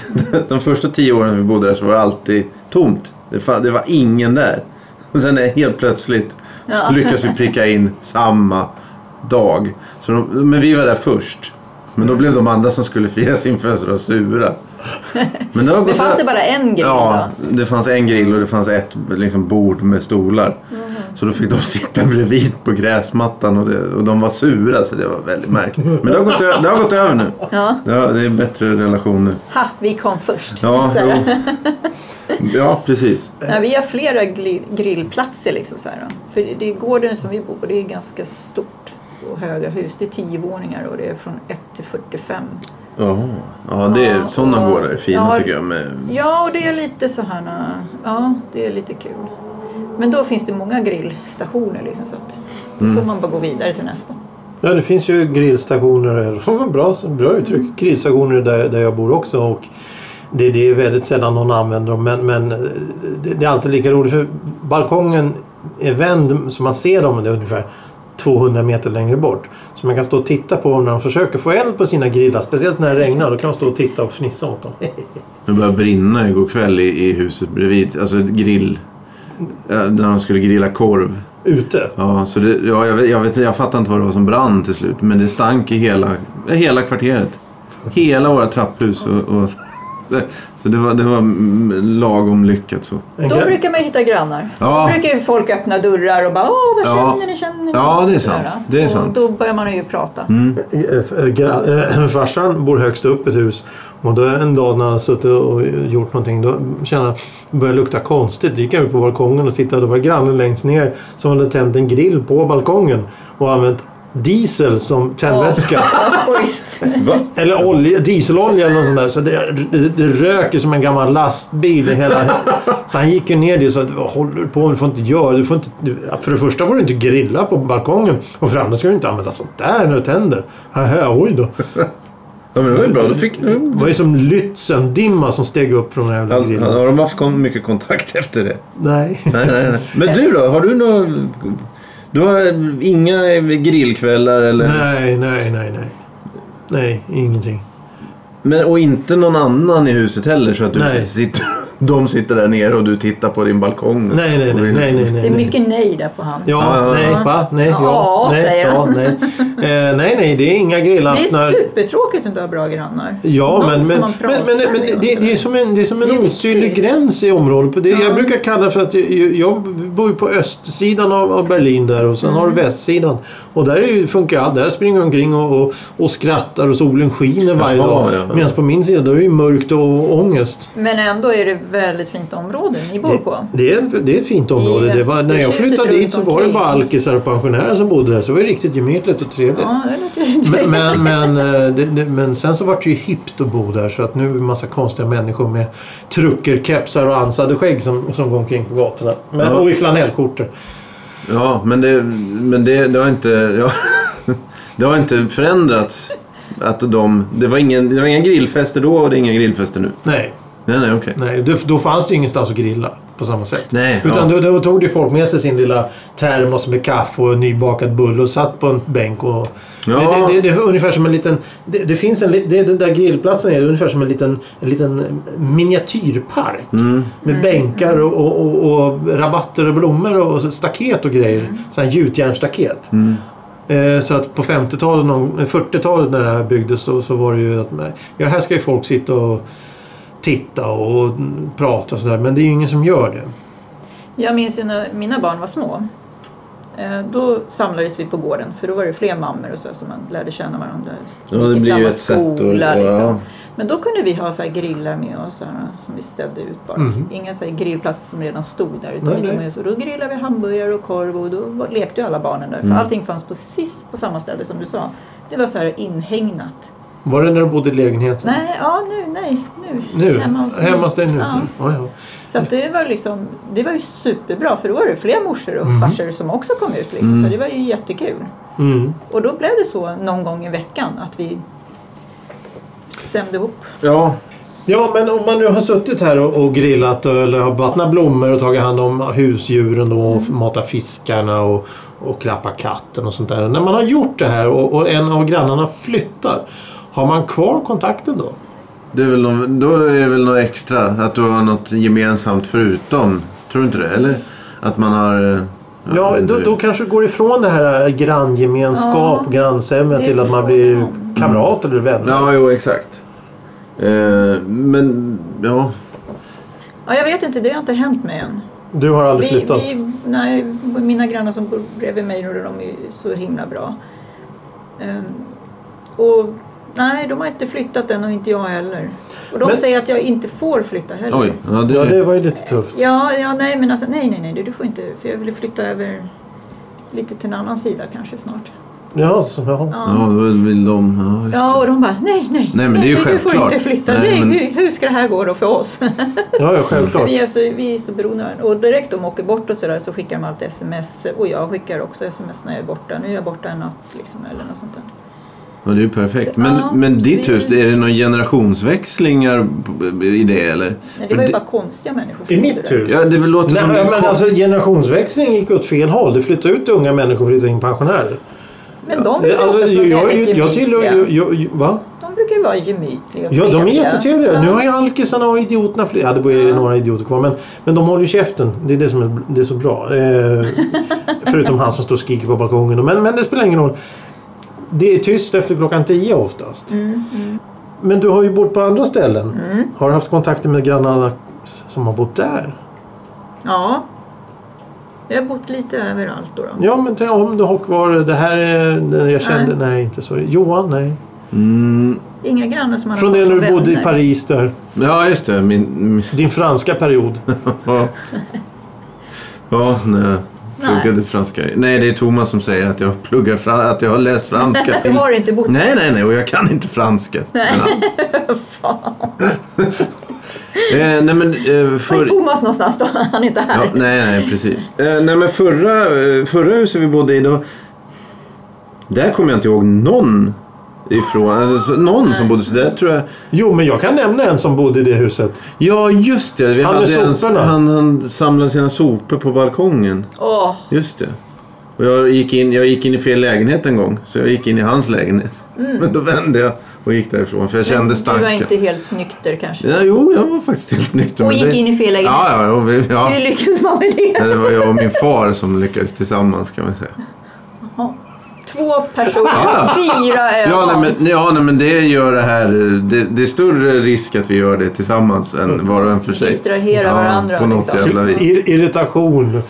[SPEAKER 2] de första tio åren vi bodde där så var det alltid tomt. Det, fa- det var ingen där. Och sen är helt plötsligt
[SPEAKER 3] Ja.
[SPEAKER 2] så lyckas vi pricka in samma dag. Så de, men vi var där först. Men
[SPEAKER 3] Mm.
[SPEAKER 2] då blev de andra som skulle fira sin födelsedag sura. Men det, har
[SPEAKER 3] Det
[SPEAKER 2] gått
[SPEAKER 3] fanns
[SPEAKER 2] ö-
[SPEAKER 3] det bara en grill
[SPEAKER 2] Ja,
[SPEAKER 3] va?
[SPEAKER 2] det fanns en grill och det fanns ett liksom, bord med stolar.
[SPEAKER 3] Mhm.
[SPEAKER 2] Så då fick de sitta bredvid på gräsmattan och, det, och de var sura så det var väldigt märkligt. Men det har gått, ö- det har gått över nu.
[SPEAKER 3] Ja.
[SPEAKER 2] Det, har, det är bättre relation nu.
[SPEAKER 3] Ha, vi kom först.
[SPEAKER 2] Ja,
[SPEAKER 3] Så här.
[SPEAKER 2] jo. ja precis.
[SPEAKER 3] Nej, vi har flera gli- grillplatser. Liksom, så här. då. För det, det, gården som vi bor på det är ganska stort. och höga hus. Det är 10 våningar och det är från 1 till 45.
[SPEAKER 2] Jaha. Ja, det är,
[SPEAKER 3] Ja,
[SPEAKER 2] sådana
[SPEAKER 3] och-
[SPEAKER 2] gårdar är fina
[SPEAKER 3] ja.
[SPEAKER 2] tycker jag. Med,
[SPEAKER 3] Ja, och det är lite så här... äh, Ja, det är lite kul. Men då finns det många grillstationer liksom så att då
[SPEAKER 2] Mm.
[SPEAKER 3] får man bara gå vidare till nästa.
[SPEAKER 1] Ja, det finns ju grillstationer. eller- Bra, bra
[SPEAKER 3] Mm.
[SPEAKER 1] uttryck. Grillstationer där, där jag bor också. Och det, det är väldigt sällan någon använder dem. Men, men eh, det, det är alltid lika roligt. För balkongen är vänd så man ser dem. Det är ungefär 200 meter längre bort. Så man kan stå och titta på dem när de försöker få eld på sina grillar. Speciellt när det regnar. Då kan man stå och titta och fnissa åt dem.
[SPEAKER 2] det började brinna igår kväll i, i huset bredvid. Alltså ett grill. Ja, När de skulle grilla korv.
[SPEAKER 1] Ute.
[SPEAKER 2] Ja, så det, ja, jag, vet, jag, vet, jag fattar inte vad det var som brann till slut. Men det stank i hela, hela kvarteret. Hela våra trapphus. Och, och, så- så det var, det var mm, lagom lyckat så.
[SPEAKER 1] En
[SPEAKER 3] Då
[SPEAKER 1] gra-
[SPEAKER 3] brukar man hitta grannar.
[SPEAKER 2] Ja.
[SPEAKER 3] Då brukar ju folk öppna dörrar och bara Åh, vad
[SPEAKER 2] Ja.
[SPEAKER 3] känner ni? Känner ni?
[SPEAKER 2] Ja, det är
[SPEAKER 3] Sådär.
[SPEAKER 2] sant. Det är
[SPEAKER 3] och
[SPEAKER 2] sant. Mm.
[SPEAKER 3] Då börjar man ju prata.
[SPEAKER 1] Eh, gra- eh, Farsan bor högst upp i ett hus. Och då en dag när han suttit och gjort någonting då kände han att det började lukta konstigt. Då gick han ut på balkongen och tittade. Då var det grannen längst ner som hade tänt en grill på balkongen och använt diesel som tändvätska.
[SPEAKER 3] Ja, schysst.
[SPEAKER 2] Va?
[SPEAKER 1] Eller olja, dieselolja eller något sånt där. Så det, det, det röker som en gammal lastbil. i Hela. Så han gick ju ner dit och sa vad håller du på med? Du får inte göra du får inte, du, För det första får du inte grilla på balkongen. Och för det andra ska du inte använda sånt där när du tänder. Haha, oj då.
[SPEAKER 2] Ja, men det var ju bra. Då fick
[SPEAKER 1] Det var ju som Lützen-dimma som steg upp från den här jävla
[SPEAKER 2] Har,
[SPEAKER 1] grillen.
[SPEAKER 2] har de haft kon- mycket kontakt efter det?
[SPEAKER 1] Nej.
[SPEAKER 2] Nej, nej, nej. Men du då? Har du några... Du har inga grillkvällar eller...
[SPEAKER 1] Nej, nej, nej, nej. Nej, ingenting.
[SPEAKER 2] Men, och inte någon annan i huset heller så att du
[SPEAKER 1] Nej.
[SPEAKER 2] sitter... De sitter där nere och du tittar på din balkong.
[SPEAKER 1] Nej, nej,
[SPEAKER 2] Och
[SPEAKER 1] nej,
[SPEAKER 2] vill-
[SPEAKER 1] nej, nej,
[SPEAKER 3] Det är
[SPEAKER 1] nej. nej.
[SPEAKER 3] mycket nej där på han.
[SPEAKER 1] Ja,
[SPEAKER 2] Ja.
[SPEAKER 1] nej, va? Nej, ja,
[SPEAKER 3] Ja,
[SPEAKER 1] nej,
[SPEAKER 3] säger
[SPEAKER 1] ja,
[SPEAKER 3] han.
[SPEAKER 1] nej. Eh, nej, nej, det är inga
[SPEAKER 3] Det
[SPEAKER 1] grillaftnar.
[SPEAKER 3] är supertråkigt att inte ha bra grannar.
[SPEAKER 1] Ja,
[SPEAKER 3] Någon
[SPEAKER 1] men,
[SPEAKER 3] som
[SPEAKER 1] men,
[SPEAKER 3] man
[SPEAKER 1] men, men,
[SPEAKER 3] pratar
[SPEAKER 1] men
[SPEAKER 3] med
[SPEAKER 1] det,
[SPEAKER 3] och
[SPEAKER 1] det,
[SPEAKER 3] sådär.
[SPEAKER 1] är som en, det är som en
[SPEAKER 3] Det är
[SPEAKER 1] osynlig
[SPEAKER 3] viktigt.
[SPEAKER 1] gräns i området. På Det, Jag
[SPEAKER 3] Ja.
[SPEAKER 1] brukar kalla det för att jag, jag bor ju på östsidan av, av Berlin där och sen har
[SPEAKER 3] Mm.
[SPEAKER 1] du västsidan. Och där är ju, funkar allt. Där springer jag omkring och, och, och skrattar och solen skiner varje
[SPEAKER 2] Jaha,
[SPEAKER 1] dag.
[SPEAKER 2] ja, ja.
[SPEAKER 1] Medan på min sida då är det ju mörkt och ångest.
[SPEAKER 3] Men ändå är det väldigt fint område ni bor på.
[SPEAKER 1] Det är, det är ett fint område.
[SPEAKER 3] Det är-
[SPEAKER 1] Det var,
[SPEAKER 3] det
[SPEAKER 1] när
[SPEAKER 3] är
[SPEAKER 1] jag
[SPEAKER 3] huset
[SPEAKER 1] flyttade
[SPEAKER 3] runt
[SPEAKER 1] dit så var det
[SPEAKER 3] omkring.
[SPEAKER 1] bara alkisar och pensionärer som bodde där. Så det var ju riktigt gemytligt och trevligt.
[SPEAKER 3] Ja, det låter ju
[SPEAKER 1] Men,
[SPEAKER 3] trevligt.
[SPEAKER 1] men, men, eh, det, det, men sen så vart det ju hippt att bo där så att nu är det massa konstiga människor med trucker, kepsar och ansade skägg som, som går omkring på gatorna. Men,
[SPEAKER 2] Ja.
[SPEAKER 1] Och i flanellskjortor.
[SPEAKER 2] Ja, men det, men det, det har inte... Ja, det har inte förändrats. Att de, det, var ingen, det var inga grillfester då och det är inga grillfester nu.
[SPEAKER 1] Nej,
[SPEAKER 2] Nej, nej, okej.
[SPEAKER 1] nej då, då fanns det ju ingenstans att grilla på samma sätt.
[SPEAKER 2] Nej,
[SPEAKER 1] Utan
[SPEAKER 2] ja.
[SPEAKER 1] då, då tog det folk med sig sin lilla termos med kaffe och en nybakad bulle och satt på en bänk. Och,
[SPEAKER 2] Ja.
[SPEAKER 1] det, det, det är ungefär som en liten... Det, det finns en, li- det, den där grillplatsen är ungefär som en liten, en liten miniatyrpark. Med bänkar och, och, och, och rabatter och blommor och så staket och grejer. Så här gjutjärnsstaket. Eh, Så att på 50-talet, någon- 40-talet när det här byggdes så, så var det ju att nej, ja, här ska ju folk sitta och titta och mm, prata och sådär. Men det är ju ingen som gör det.
[SPEAKER 3] Jag minns ju när mina barn var små. Eh, Då samlades vi på gården för då var det fler mammor och så som man lärde känna varandra.
[SPEAKER 2] Ja, det
[SPEAKER 3] Gick i
[SPEAKER 2] blir
[SPEAKER 3] samma
[SPEAKER 2] ju ett sätt att-
[SPEAKER 3] skola,
[SPEAKER 2] ja.
[SPEAKER 3] liksom. Men då kunde vi ha så här grillar med oss så här, som vi ställde ut bara.
[SPEAKER 1] Mhm.
[SPEAKER 3] Inga så här grillplatser som redan stod där. Utan
[SPEAKER 1] Nej,
[SPEAKER 3] vi tog
[SPEAKER 1] nej.
[SPEAKER 3] med oss, och då grillade vi hamburgare och korv och då var- lekte ju alla barnen där. För
[SPEAKER 1] Mm.
[SPEAKER 3] allting fanns precis på samma ställe som du sa. Det var så här inhägnat.
[SPEAKER 1] Var det när du bodde i lägenheten?
[SPEAKER 3] Nej, ja nu, nej, nu.
[SPEAKER 1] Nu?
[SPEAKER 3] Hemma hos mig.
[SPEAKER 1] Hemma hos dig nu?
[SPEAKER 3] Ja.
[SPEAKER 1] Mm. Ja, ja.
[SPEAKER 3] Så att det var liksom, det var ju superbra för då var det fler morsor och
[SPEAKER 1] Mhm.
[SPEAKER 3] farsor som också kom ut liksom. Så det var ju jättekul.
[SPEAKER 1] Mm.
[SPEAKER 3] Och då blev det så någon gång i veckan att vi stämde ihop.
[SPEAKER 2] Ja,
[SPEAKER 1] Ja, men om man nu har suttit här och, och grillat och- eller har vattnat blommor och tagit hand om husdjuren då, och
[SPEAKER 3] Mm.
[SPEAKER 1] matat fiskarna och, och klappat katten och sånt där. När man har gjort det här och, och en av grannarna flyttar, har man kvar kontakten då?
[SPEAKER 2] det är väl nå- då är det väl något extra. Att du har något gemensamt förutom. Tror du inte det? Eller? Att man har... eh, jag
[SPEAKER 1] Ja,
[SPEAKER 2] vet inte
[SPEAKER 1] då,
[SPEAKER 2] hur-
[SPEAKER 1] då kanske det går ifrån det här äh, granngemenskap,
[SPEAKER 3] Ja,
[SPEAKER 1] grannsämja
[SPEAKER 3] det är
[SPEAKER 1] till att man blir kamrat eller vänner.
[SPEAKER 2] Ja, jo, exakt. Eh, men, ja.
[SPEAKER 3] Ja, jag vet inte, det har inte hänt mig än.
[SPEAKER 1] Du har aldrig
[SPEAKER 3] Vi,
[SPEAKER 1] flyttat?
[SPEAKER 3] vi, nej, mina grannar som bor bredvid mig nu, de är ju så himla bra. Ehm, och nej, de har inte flyttat än och inte jag heller. Och de
[SPEAKER 1] Men-
[SPEAKER 3] säger att jag inte får flytta heller.
[SPEAKER 2] Oj. Ja, det,
[SPEAKER 1] Ja, det var ju lite tufft.
[SPEAKER 3] Ja, ja, nej men alltså nej, nej, nej, du, du får inte. För jag ville flytta över lite till en annan sida kanske snart.
[SPEAKER 1] Ja, så, ja.
[SPEAKER 3] Ja.
[SPEAKER 2] Ja, då vill de... Ja, just
[SPEAKER 3] Ja,
[SPEAKER 2] det.
[SPEAKER 3] och de bara nej, nej,
[SPEAKER 2] Nej, men det är ju
[SPEAKER 3] du får
[SPEAKER 2] självklart.
[SPEAKER 3] inte flytta.
[SPEAKER 2] Nej,
[SPEAKER 3] Nej,
[SPEAKER 2] men-
[SPEAKER 3] hur, hur ska det här gå då för oss?
[SPEAKER 1] ja, ja självklart.
[SPEAKER 3] vi, är så, vi är så beroende av den. Och direkt de åker bort och sådär så skickar de alltid sms och jag skickar också sms när jag är borta. Nu är jag borta en natt liksom eller något sånt där.
[SPEAKER 2] Ja, det är ju perfekt.
[SPEAKER 3] Så-
[SPEAKER 2] Men,
[SPEAKER 3] ja,
[SPEAKER 2] men
[SPEAKER 3] så
[SPEAKER 2] ditt
[SPEAKER 3] vi-
[SPEAKER 2] hus, är det några generationsväxlingar i det eller?
[SPEAKER 3] Nej, det
[SPEAKER 2] För
[SPEAKER 3] var ju
[SPEAKER 2] det-
[SPEAKER 3] bara konstiga människor. som
[SPEAKER 1] I
[SPEAKER 3] gjorde
[SPEAKER 1] mitt
[SPEAKER 3] det.
[SPEAKER 1] hus.
[SPEAKER 2] Ja, det låter
[SPEAKER 1] Nej,
[SPEAKER 2] som... det
[SPEAKER 1] men
[SPEAKER 2] kom-
[SPEAKER 1] alltså generationsväxlingen gick åt fel håll. Det flyttade ut unga människor och flyttade in pensionärer.
[SPEAKER 3] Men de brukar
[SPEAKER 1] Alltså,
[SPEAKER 3] också
[SPEAKER 1] jag,
[SPEAKER 3] vara
[SPEAKER 1] jag,
[SPEAKER 3] väldigt
[SPEAKER 1] jag tillhör
[SPEAKER 3] gemytliga.
[SPEAKER 1] ju... jag- jag- Va?
[SPEAKER 3] De brukar ju vara gemytliga och
[SPEAKER 1] Ja, de är
[SPEAKER 3] trevliga.
[SPEAKER 1] jättetrevliga.
[SPEAKER 3] Ja.
[SPEAKER 1] Nu har ju alkisarna och idioterna fler. Ja, det blir
[SPEAKER 3] Ja.
[SPEAKER 1] några idioter kvar. Men, men de håller ju käften. Det är det som är, det är så bra. Eh, förutom han som står och skriker på balkongen. Men, men det spelar ingen roll. Det är tyst efter klockan tio oftast.
[SPEAKER 3] Mm.
[SPEAKER 1] Men du har ju bott på andra ställen. Har du haft kontakter med grannarna som har bott där?
[SPEAKER 3] ja. Jag har bott lite överallt då. då.
[SPEAKER 1] Ja, men tänk om du har kvar det här. eh, Jag kände, nej, inte så. Johan, nej.
[SPEAKER 2] Mm,
[SPEAKER 3] Inga grannar som man
[SPEAKER 1] Från
[SPEAKER 3] har
[SPEAKER 1] det
[SPEAKER 3] fått
[SPEAKER 1] när
[SPEAKER 3] som
[SPEAKER 1] du bodde i
[SPEAKER 3] vänner.
[SPEAKER 1] Paris där.
[SPEAKER 2] ja, just det. Min, min,
[SPEAKER 1] Din franska period.
[SPEAKER 2] ja. ja, nej. Pluggade franska. Nej, det är Thomas som säger att jag pluggar fran- att jag har läst franska.
[SPEAKER 3] Du har inte bott
[SPEAKER 2] Nej, nej, nej. Och jag kan inte franska. Nej, eh, nej men eh,
[SPEAKER 3] Var är
[SPEAKER 2] för...
[SPEAKER 3] Thomas någonstans då? Han är inte här.
[SPEAKER 2] Ja, nej, nej, precis. Eh, nej, men förra, eh, förra huset vi bodde i då... Där kommer jag inte ihåg någon ifrån. Alltså, så- någon som bodde så där tror jag...
[SPEAKER 1] Jo, men jag kan nämna en som bodde i det huset.
[SPEAKER 2] Ja, just det. Vi
[SPEAKER 1] Han med
[SPEAKER 2] hade en,
[SPEAKER 1] soporna.
[SPEAKER 2] han, han samlade sina sopor på balkongen.
[SPEAKER 3] Åh,
[SPEAKER 2] Just det. Och jag gick, in, jag gick in i fel lägenhet en gång. Så jag gick in i hans lägenhet. Men då vände jag och gick därifrån. För jag kände
[SPEAKER 3] Mm. du var
[SPEAKER 2] starka.
[SPEAKER 3] inte helt nykter kanske.
[SPEAKER 2] Ja, jo, jag var faktiskt helt nykter.
[SPEAKER 3] Och
[SPEAKER 2] men
[SPEAKER 3] gick
[SPEAKER 2] det-
[SPEAKER 3] in i fel lägenhet.
[SPEAKER 2] Ja, ja, ja, vi, ja.
[SPEAKER 3] Hur lyckas man med det?
[SPEAKER 2] Nej, Det var jag och min far som lyckades tillsammans kan man säga.
[SPEAKER 3] Ja. Två personer,
[SPEAKER 2] Ja.
[SPEAKER 3] fyra ögon.
[SPEAKER 2] Ja, nej, men, ja, nej, men det gör det här... Det, det är större risk att vi gör det tillsammans
[SPEAKER 1] Mm.
[SPEAKER 2] än var och en för sig.
[SPEAKER 3] Distrahera
[SPEAKER 2] ja,
[SPEAKER 3] varandra,
[SPEAKER 2] På något
[SPEAKER 3] liksom.
[SPEAKER 2] jävla vis.
[SPEAKER 1] Ir- irritation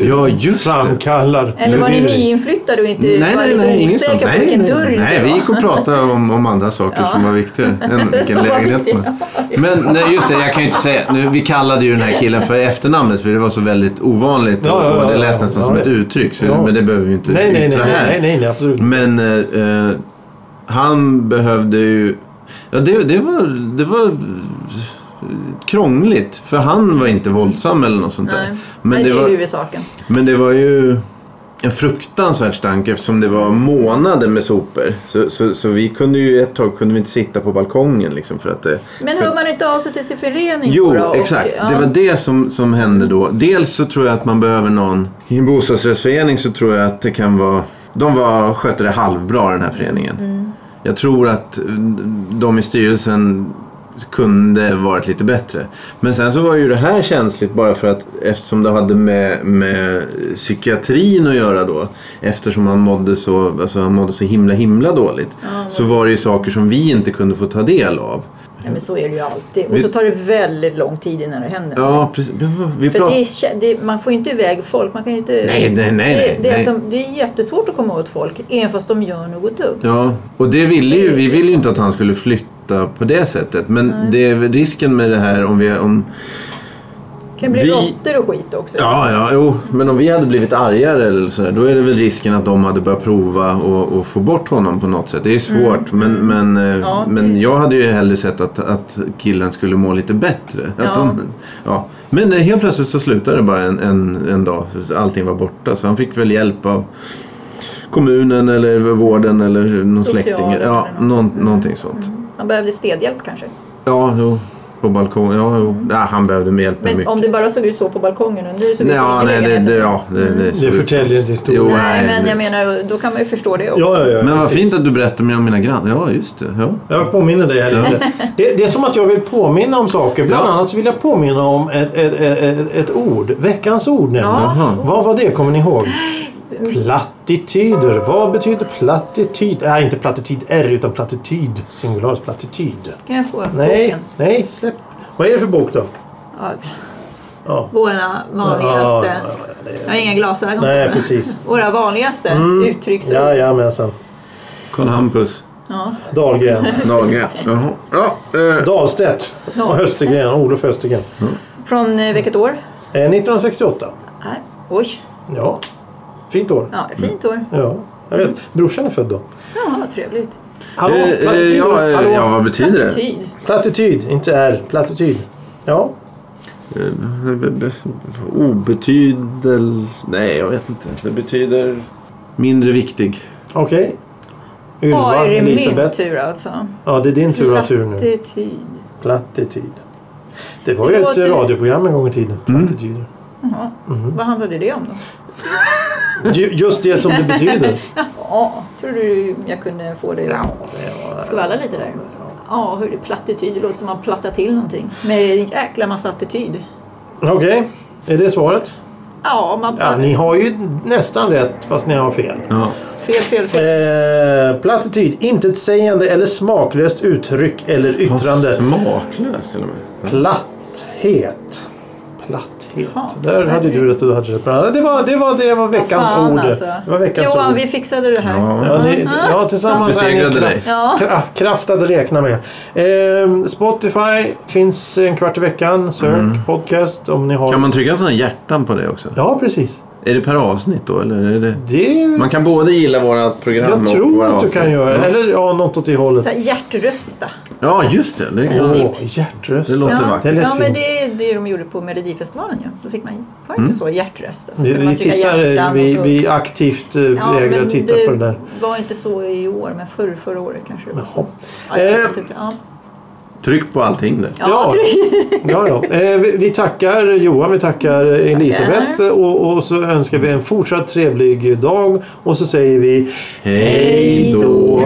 [SPEAKER 2] Ja, just det.
[SPEAKER 1] framkallar
[SPEAKER 3] Eller var ni
[SPEAKER 1] förvirring.
[SPEAKER 3] nyinflyttade och inte
[SPEAKER 2] Nej,
[SPEAKER 3] var
[SPEAKER 2] nej,
[SPEAKER 3] lite
[SPEAKER 2] nej. Ingen sån.
[SPEAKER 3] osäkra på
[SPEAKER 2] Nej,
[SPEAKER 3] vilken
[SPEAKER 2] nej,
[SPEAKER 3] dörr
[SPEAKER 2] nej. nej.
[SPEAKER 3] det
[SPEAKER 2] Vi
[SPEAKER 3] var?
[SPEAKER 2] gick och pratade om, om andra saker som var viktigare än vilken
[SPEAKER 3] Som var
[SPEAKER 2] lägenhet
[SPEAKER 3] viktigare.
[SPEAKER 2] man Men nej, just det, jag kan ju inte säga. Nu, vi kallade ju den här killen för efternamnet för det var så väldigt ovanligt
[SPEAKER 1] Ja, ja,
[SPEAKER 2] och, och det
[SPEAKER 1] ja,
[SPEAKER 2] lät
[SPEAKER 1] ja,
[SPEAKER 2] nästan
[SPEAKER 1] ja,
[SPEAKER 2] som
[SPEAKER 1] ja.
[SPEAKER 2] ett uttryck. Så,
[SPEAKER 1] Ja.
[SPEAKER 2] Men det behöver vi ju inte
[SPEAKER 1] Nej, nej, nej,
[SPEAKER 2] yttra här.
[SPEAKER 1] nej, nej, nej, absolut.
[SPEAKER 2] Men eh, eh, han behövde ju... Ja, det, det, var, det var krångligt. För han var inte våldsam eller något sånt
[SPEAKER 3] Nej.
[SPEAKER 2] där.
[SPEAKER 3] Men
[SPEAKER 2] Men det,
[SPEAKER 3] är ju
[SPEAKER 2] var,
[SPEAKER 3] huvudsaken.
[SPEAKER 2] men det var ju en fruktansvärd stank eftersom det var månader med sopor. Så, så, så vi kunde ju ett tag kunde vi inte sitta på balkongen liksom för att det...
[SPEAKER 3] Men hör man inte av sig till sin förening
[SPEAKER 2] Jo,
[SPEAKER 3] då? Och-
[SPEAKER 2] exakt.
[SPEAKER 3] ja.
[SPEAKER 2] Det var det som, som hände då. Dels så tror jag att man behöver någon... I en bostadsrättsförening så tror jag att det kan vara... De var, skötte det halvbra den här föreningen.
[SPEAKER 3] Mm.
[SPEAKER 2] Jag tror att eh, de i styrelsen kunde varit lite bättre. Men sen så var ju det här känsligt bara för att eftersom det hade med, med psykiatrin att göra då. Eftersom han mådde så, alltså han mådde så himla himla dåligt. så var det ju saker som vi inte kunde få ta del av.
[SPEAKER 3] Nej, men så är det ju alltid. Och
[SPEAKER 2] Vi-
[SPEAKER 3] så tar det väldigt lång tid innan det händer.
[SPEAKER 2] Ja, precis. Men vad- Vi
[SPEAKER 3] För
[SPEAKER 2] pratar-
[SPEAKER 3] det är, kä- det, man får ju inte iväg folk. Man kan ju inte,
[SPEAKER 2] Nej, nej, nej, nej,
[SPEAKER 3] det, det, är
[SPEAKER 2] nej.
[SPEAKER 3] Som, det är jättesvårt att komma åt folk, även fast de gör något dumt.
[SPEAKER 2] Ja, och det ville ju, vi ville ju inte att han skulle flytta på det sättet. Men det är väl risken med det här om vi... Om,
[SPEAKER 3] Det kan bli
[SPEAKER 2] Vi-
[SPEAKER 3] råttor och skit också.
[SPEAKER 2] ja, ja, jo. Men om vi hade blivit argare eller sådär, då är det väl risken att de hade börjat prova och, och få bort honom på något sätt. Det är svårt, men, men, eh,
[SPEAKER 3] Mm. Ja, det-
[SPEAKER 2] men jag hade ju hellre sett att, att killen skulle må lite bättre. Att
[SPEAKER 3] Ja.
[SPEAKER 2] de, ja. Men eh, helt plötsligt så slutade det bara en, en, en dag. Allting var borta, så han fick väl hjälp av kommunen eller vården eller någon
[SPEAKER 3] Socialen Mm.
[SPEAKER 2] släkting.
[SPEAKER 3] eller
[SPEAKER 2] Ja,
[SPEAKER 3] något.
[SPEAKER 2] någon, någonting sånt.
[SPEAKER 3] Han behövde städhjälp kanske.
[SPEAKER 2] Ja, jo. På balkongen. Ja, jo. Ja, han behövde med hjälp med
[SPEAKER 3] Men
[SPEAKER 2] mycket.
[SPEAKER 3] om det bara såg ut så på balkongen och nu såg
[SPEAKER 2] Nej,
[SPEAKER 3] ut så
[SPEAKER 2] ja,
[SPEAKER 3] i
[SPEAKER 2] nej, det,
[SPEAKER 3] lägenheten.
[SPEAKER 2] det, ja, det,
[SPEAKER 3] Mm.
[SPEAKER 2] det, såg
[SPEAKER 1] Det
[SPEAKER 2] ut så.
[SPEAKER 1] förtäljer inte historien.
[SPEAKER 2] Jo,
[SPEAKER 3] Nej,
[SPEAKER 2] nej,
[SPEAKER 3] men
[SPEAKER 2] det-
[SPEAKER 3] jag menar, då kan man ju förstå det också.
[SPEAKER 1] Ja, ja, ja,
[SPEAKER 2] Men vad
[SPEAKER 1] precis.
[SPEAKER 2] fint att du berättar mig om mina grannar. Ja, just det. Ja.
[SPEAKER 1] Jag påminner dig här lite. Det, det är som att jag vill påminna om saker. Bland
[SPEAKER 2] Ja.
[SPEAKER 1] annat så vill jag påminna om ett, ett, ett, ett, ett ord. Veckans ord nämligen.
[SPEAKER 3] Ja.
[SPEAKER 2] Jaha.
[SPEAKER 1] Vad var det? Kommer ni ihåg? Plattityder. Vad betyder plattityd? Nej, inte plattityd R utan plattityd. Singularis plattityd.
[SPEAKER 3] Kan jag få
[SPEAKER 1] Nej,
[SPEAKER 3] boken?
[SPEAKER 1] nej, släpp. Vad är det för bok då?
[SPEAKER 3] Ja,
[SPEAKER 1] Ja.
[SPEAKER 3] våra vanligaste...
[SPEAKER 1] Ja, ja, ja,
[SPEAKER 3] Jag har inga glasögon.
[SPEAKER 1] Nej, Mm. precis.
[SPEAKER 3] Våra vanligaste uttrycksord. Ja,
[SPEAKER 1] Jajamensan.
[SPEAKER 2] Karl Hampus.
[SPEAKER 1] Dahlgren.
[SPEAKER 2] Nage. Jaha. Ja, eh,
[SPEAKER 1] Dahlstedt.
[SPEAKER 3] Dahlstedt.
[SPEAKER 1] Östergren. Olof Östergren.
[SPEAKER 3] Från eh, vilket år?
[SPEAKER 1] Eh, 1968.
[SPEAKER 3] Nej. Oj,
[SPEAKER 1] Ja, fint år. Mm.
[SPEAKER 3] ja, fint år.
[SPEAKER 1] Ja. Jag vet, brorsan är född då.
[SPEAKER 3] Ja, vad trevligt.
[SPEAKER 1] Hallå,
[SPEAKER 2] Eh, eh,
[SPEAKER 1] plattityd!
[SPEAKER 2] ja, eh,
[SPEAKER 1] hallå.
[SPEAKER 2] ja, vad betyder det?
[SPEAKER 3] Plattityd.
[SPEAKER 1] Plattityd, inte är plattityd. Ja,
[SPEAKER 2] Eh, be- be- Obetydel... Nej, jag vet inte. Det betyder mindre viktig.
[SPEAKER 1] okej.
[SPEAKER 3] Ja,
[SPEAKER 1] Ylva,
[SPEAKER 3] är det min
[SPEAKER 1] Elisabeth.
[SPEAKER 3] tur alltså?
[SPEAKER 1] Ja, det är din tur att ha tur nu.
[SPEAKER 3] Plattityd.
[SPEAKER 1] Plattityd. Det var ju
[SPEAKER 3] Det
[SPEAKER 1] ett
[SPEAKER 3] låter-
[SPEAKER 1] radioprogram en gång i tiden.
[SPEAKER 2] Mm.
[SPEAKER 1] Plattityder.
[SPEAKER 3] Jaha.
[SPEAKER 1] Mhm.
[SPEAKER 3] Vad handlade det om då?
[SPEAKER 1] Ju- Just det som det betyder.
[SPEAKER 3] Ja, tror du jag kunde få dig att skvallra lite där? Ja, hur är det plattityd? Det låter som att man plattar till någonting. Med en jäkla massa attityd.
[SPEAKER 1] Okej, är det svaret?
[SPEAKER 3] Ja, man
[SPEAKER 1] Ja, ni har ju nästan rätt fast ni har fel.
[SPEAKER 2] Ja.
[SPEAKER 3] Fel, fel, fel.
[SPEAKER 1] Eh, plattityd, intetsägande eller smaklöst uttryck eller yttrande.
[SPEAKER 2] Smaklöst till och med.
[SPEAKER 1] Platthet. Platthet.
[SPEAKER 3] Ja,
[SPEAKER 1] Där hade du rätt och du hade rätt. Ja, Det var, det var, det var veckans
[SPEAKER 3] Fan,
[SPEAKER 1] ord.
[SPEAKER 3] alltså.
[SPEAKER 1] Det var veckans
[SPEAKER 3] Johan,
[SPEAKER 1] ord.
[SPEAKER 3] vi fixade det här.
[SPEAKER 2] Ja.
[SPEAKER 1] Ja, ni, ja, tillsammans är ni
[SPEAKER 2] Besegrade dig.
[SPEAKER 3] Ja.
[SPEAKER 1] kra- kraft att räkna med. Ehm, Spotify finns en kvart i veckan. Sök podcast om ni har...
[SPEAKER 2] Mm. Kan man trycka sådana hjärtan på det också?
[SPEAKER 1] Ja, precis.
[SPEAKER 2] Är det per avsnitt då? Eller är det...
[SPEAKER 1] Det är...
[SPEAKER 2] Man kan både gilla våra program
[SPEAKER 1] Jag
[SPEAKER 2] och
[SPEAKER 1] tror
[SPEAKER 2] våra
[SPEAKER 1] att du
[SPEAKER 2] avsnitt.
[SPEAKER 1] kan göra Eller ja, något åt det hållet.
[SPEAKER 3] Så här, hjärtrösta.
[SPEAKER 2] Ja, just det. det
[SPEAKER 1] Åh,
[SPEAKER 2] kan...
[SPEAKER 1] hjärtröst.
[SPEAKER 2] Det låter
[SPEAKER 3] Ja,
[SPEAKER 2] vackert.
[SPEAKER 1] Det lät
[SPEAKER 3] ja men
[SPEAKER 1] fint.
[SPEAKER 3] det är det de gjorde på Melodifestivalen ju. Då fick man var
[SPEAKER 2] Mm.
[SPEAKER 3] det inte så hjärtröst. Alltså,
[SPEAKER 1] Vi,
[SPEAKER 3] kunde man
[SPEAKER 1] vi,
[SPEAKER 3] trycka
[SPEAKER 1] tittar, eh,
[SPEAKER 3] hjärtan och
[SPEAKER 1] vi,
[SPEAKER 3] så-
[SPEAKER 1] vi aktivt eh, vägrar
[SPEAKER 3] men
[SPEAKER 1] titta på det där.
[SPEAKER 3] var inte så i år, men förr, förra året kanske det var så. Ja,
[SPEAKER 1] Eh,
[SPEAKER 3] jag vet inte. ja.
[SPEAKER 2] Tryck på allting där.
[SPEAKER 3] Ja,
[SPEAKER 1] Ja.
[SPEAKER 3] tror jag.
[SPEAKER 1] Ja, ja. Eh, vi, vi tackar Johan, vi tackar Elisabeth och, och så önskar vi en fortsatt trevlig dag och så säger vi
[SPEAKER 2] Hej då!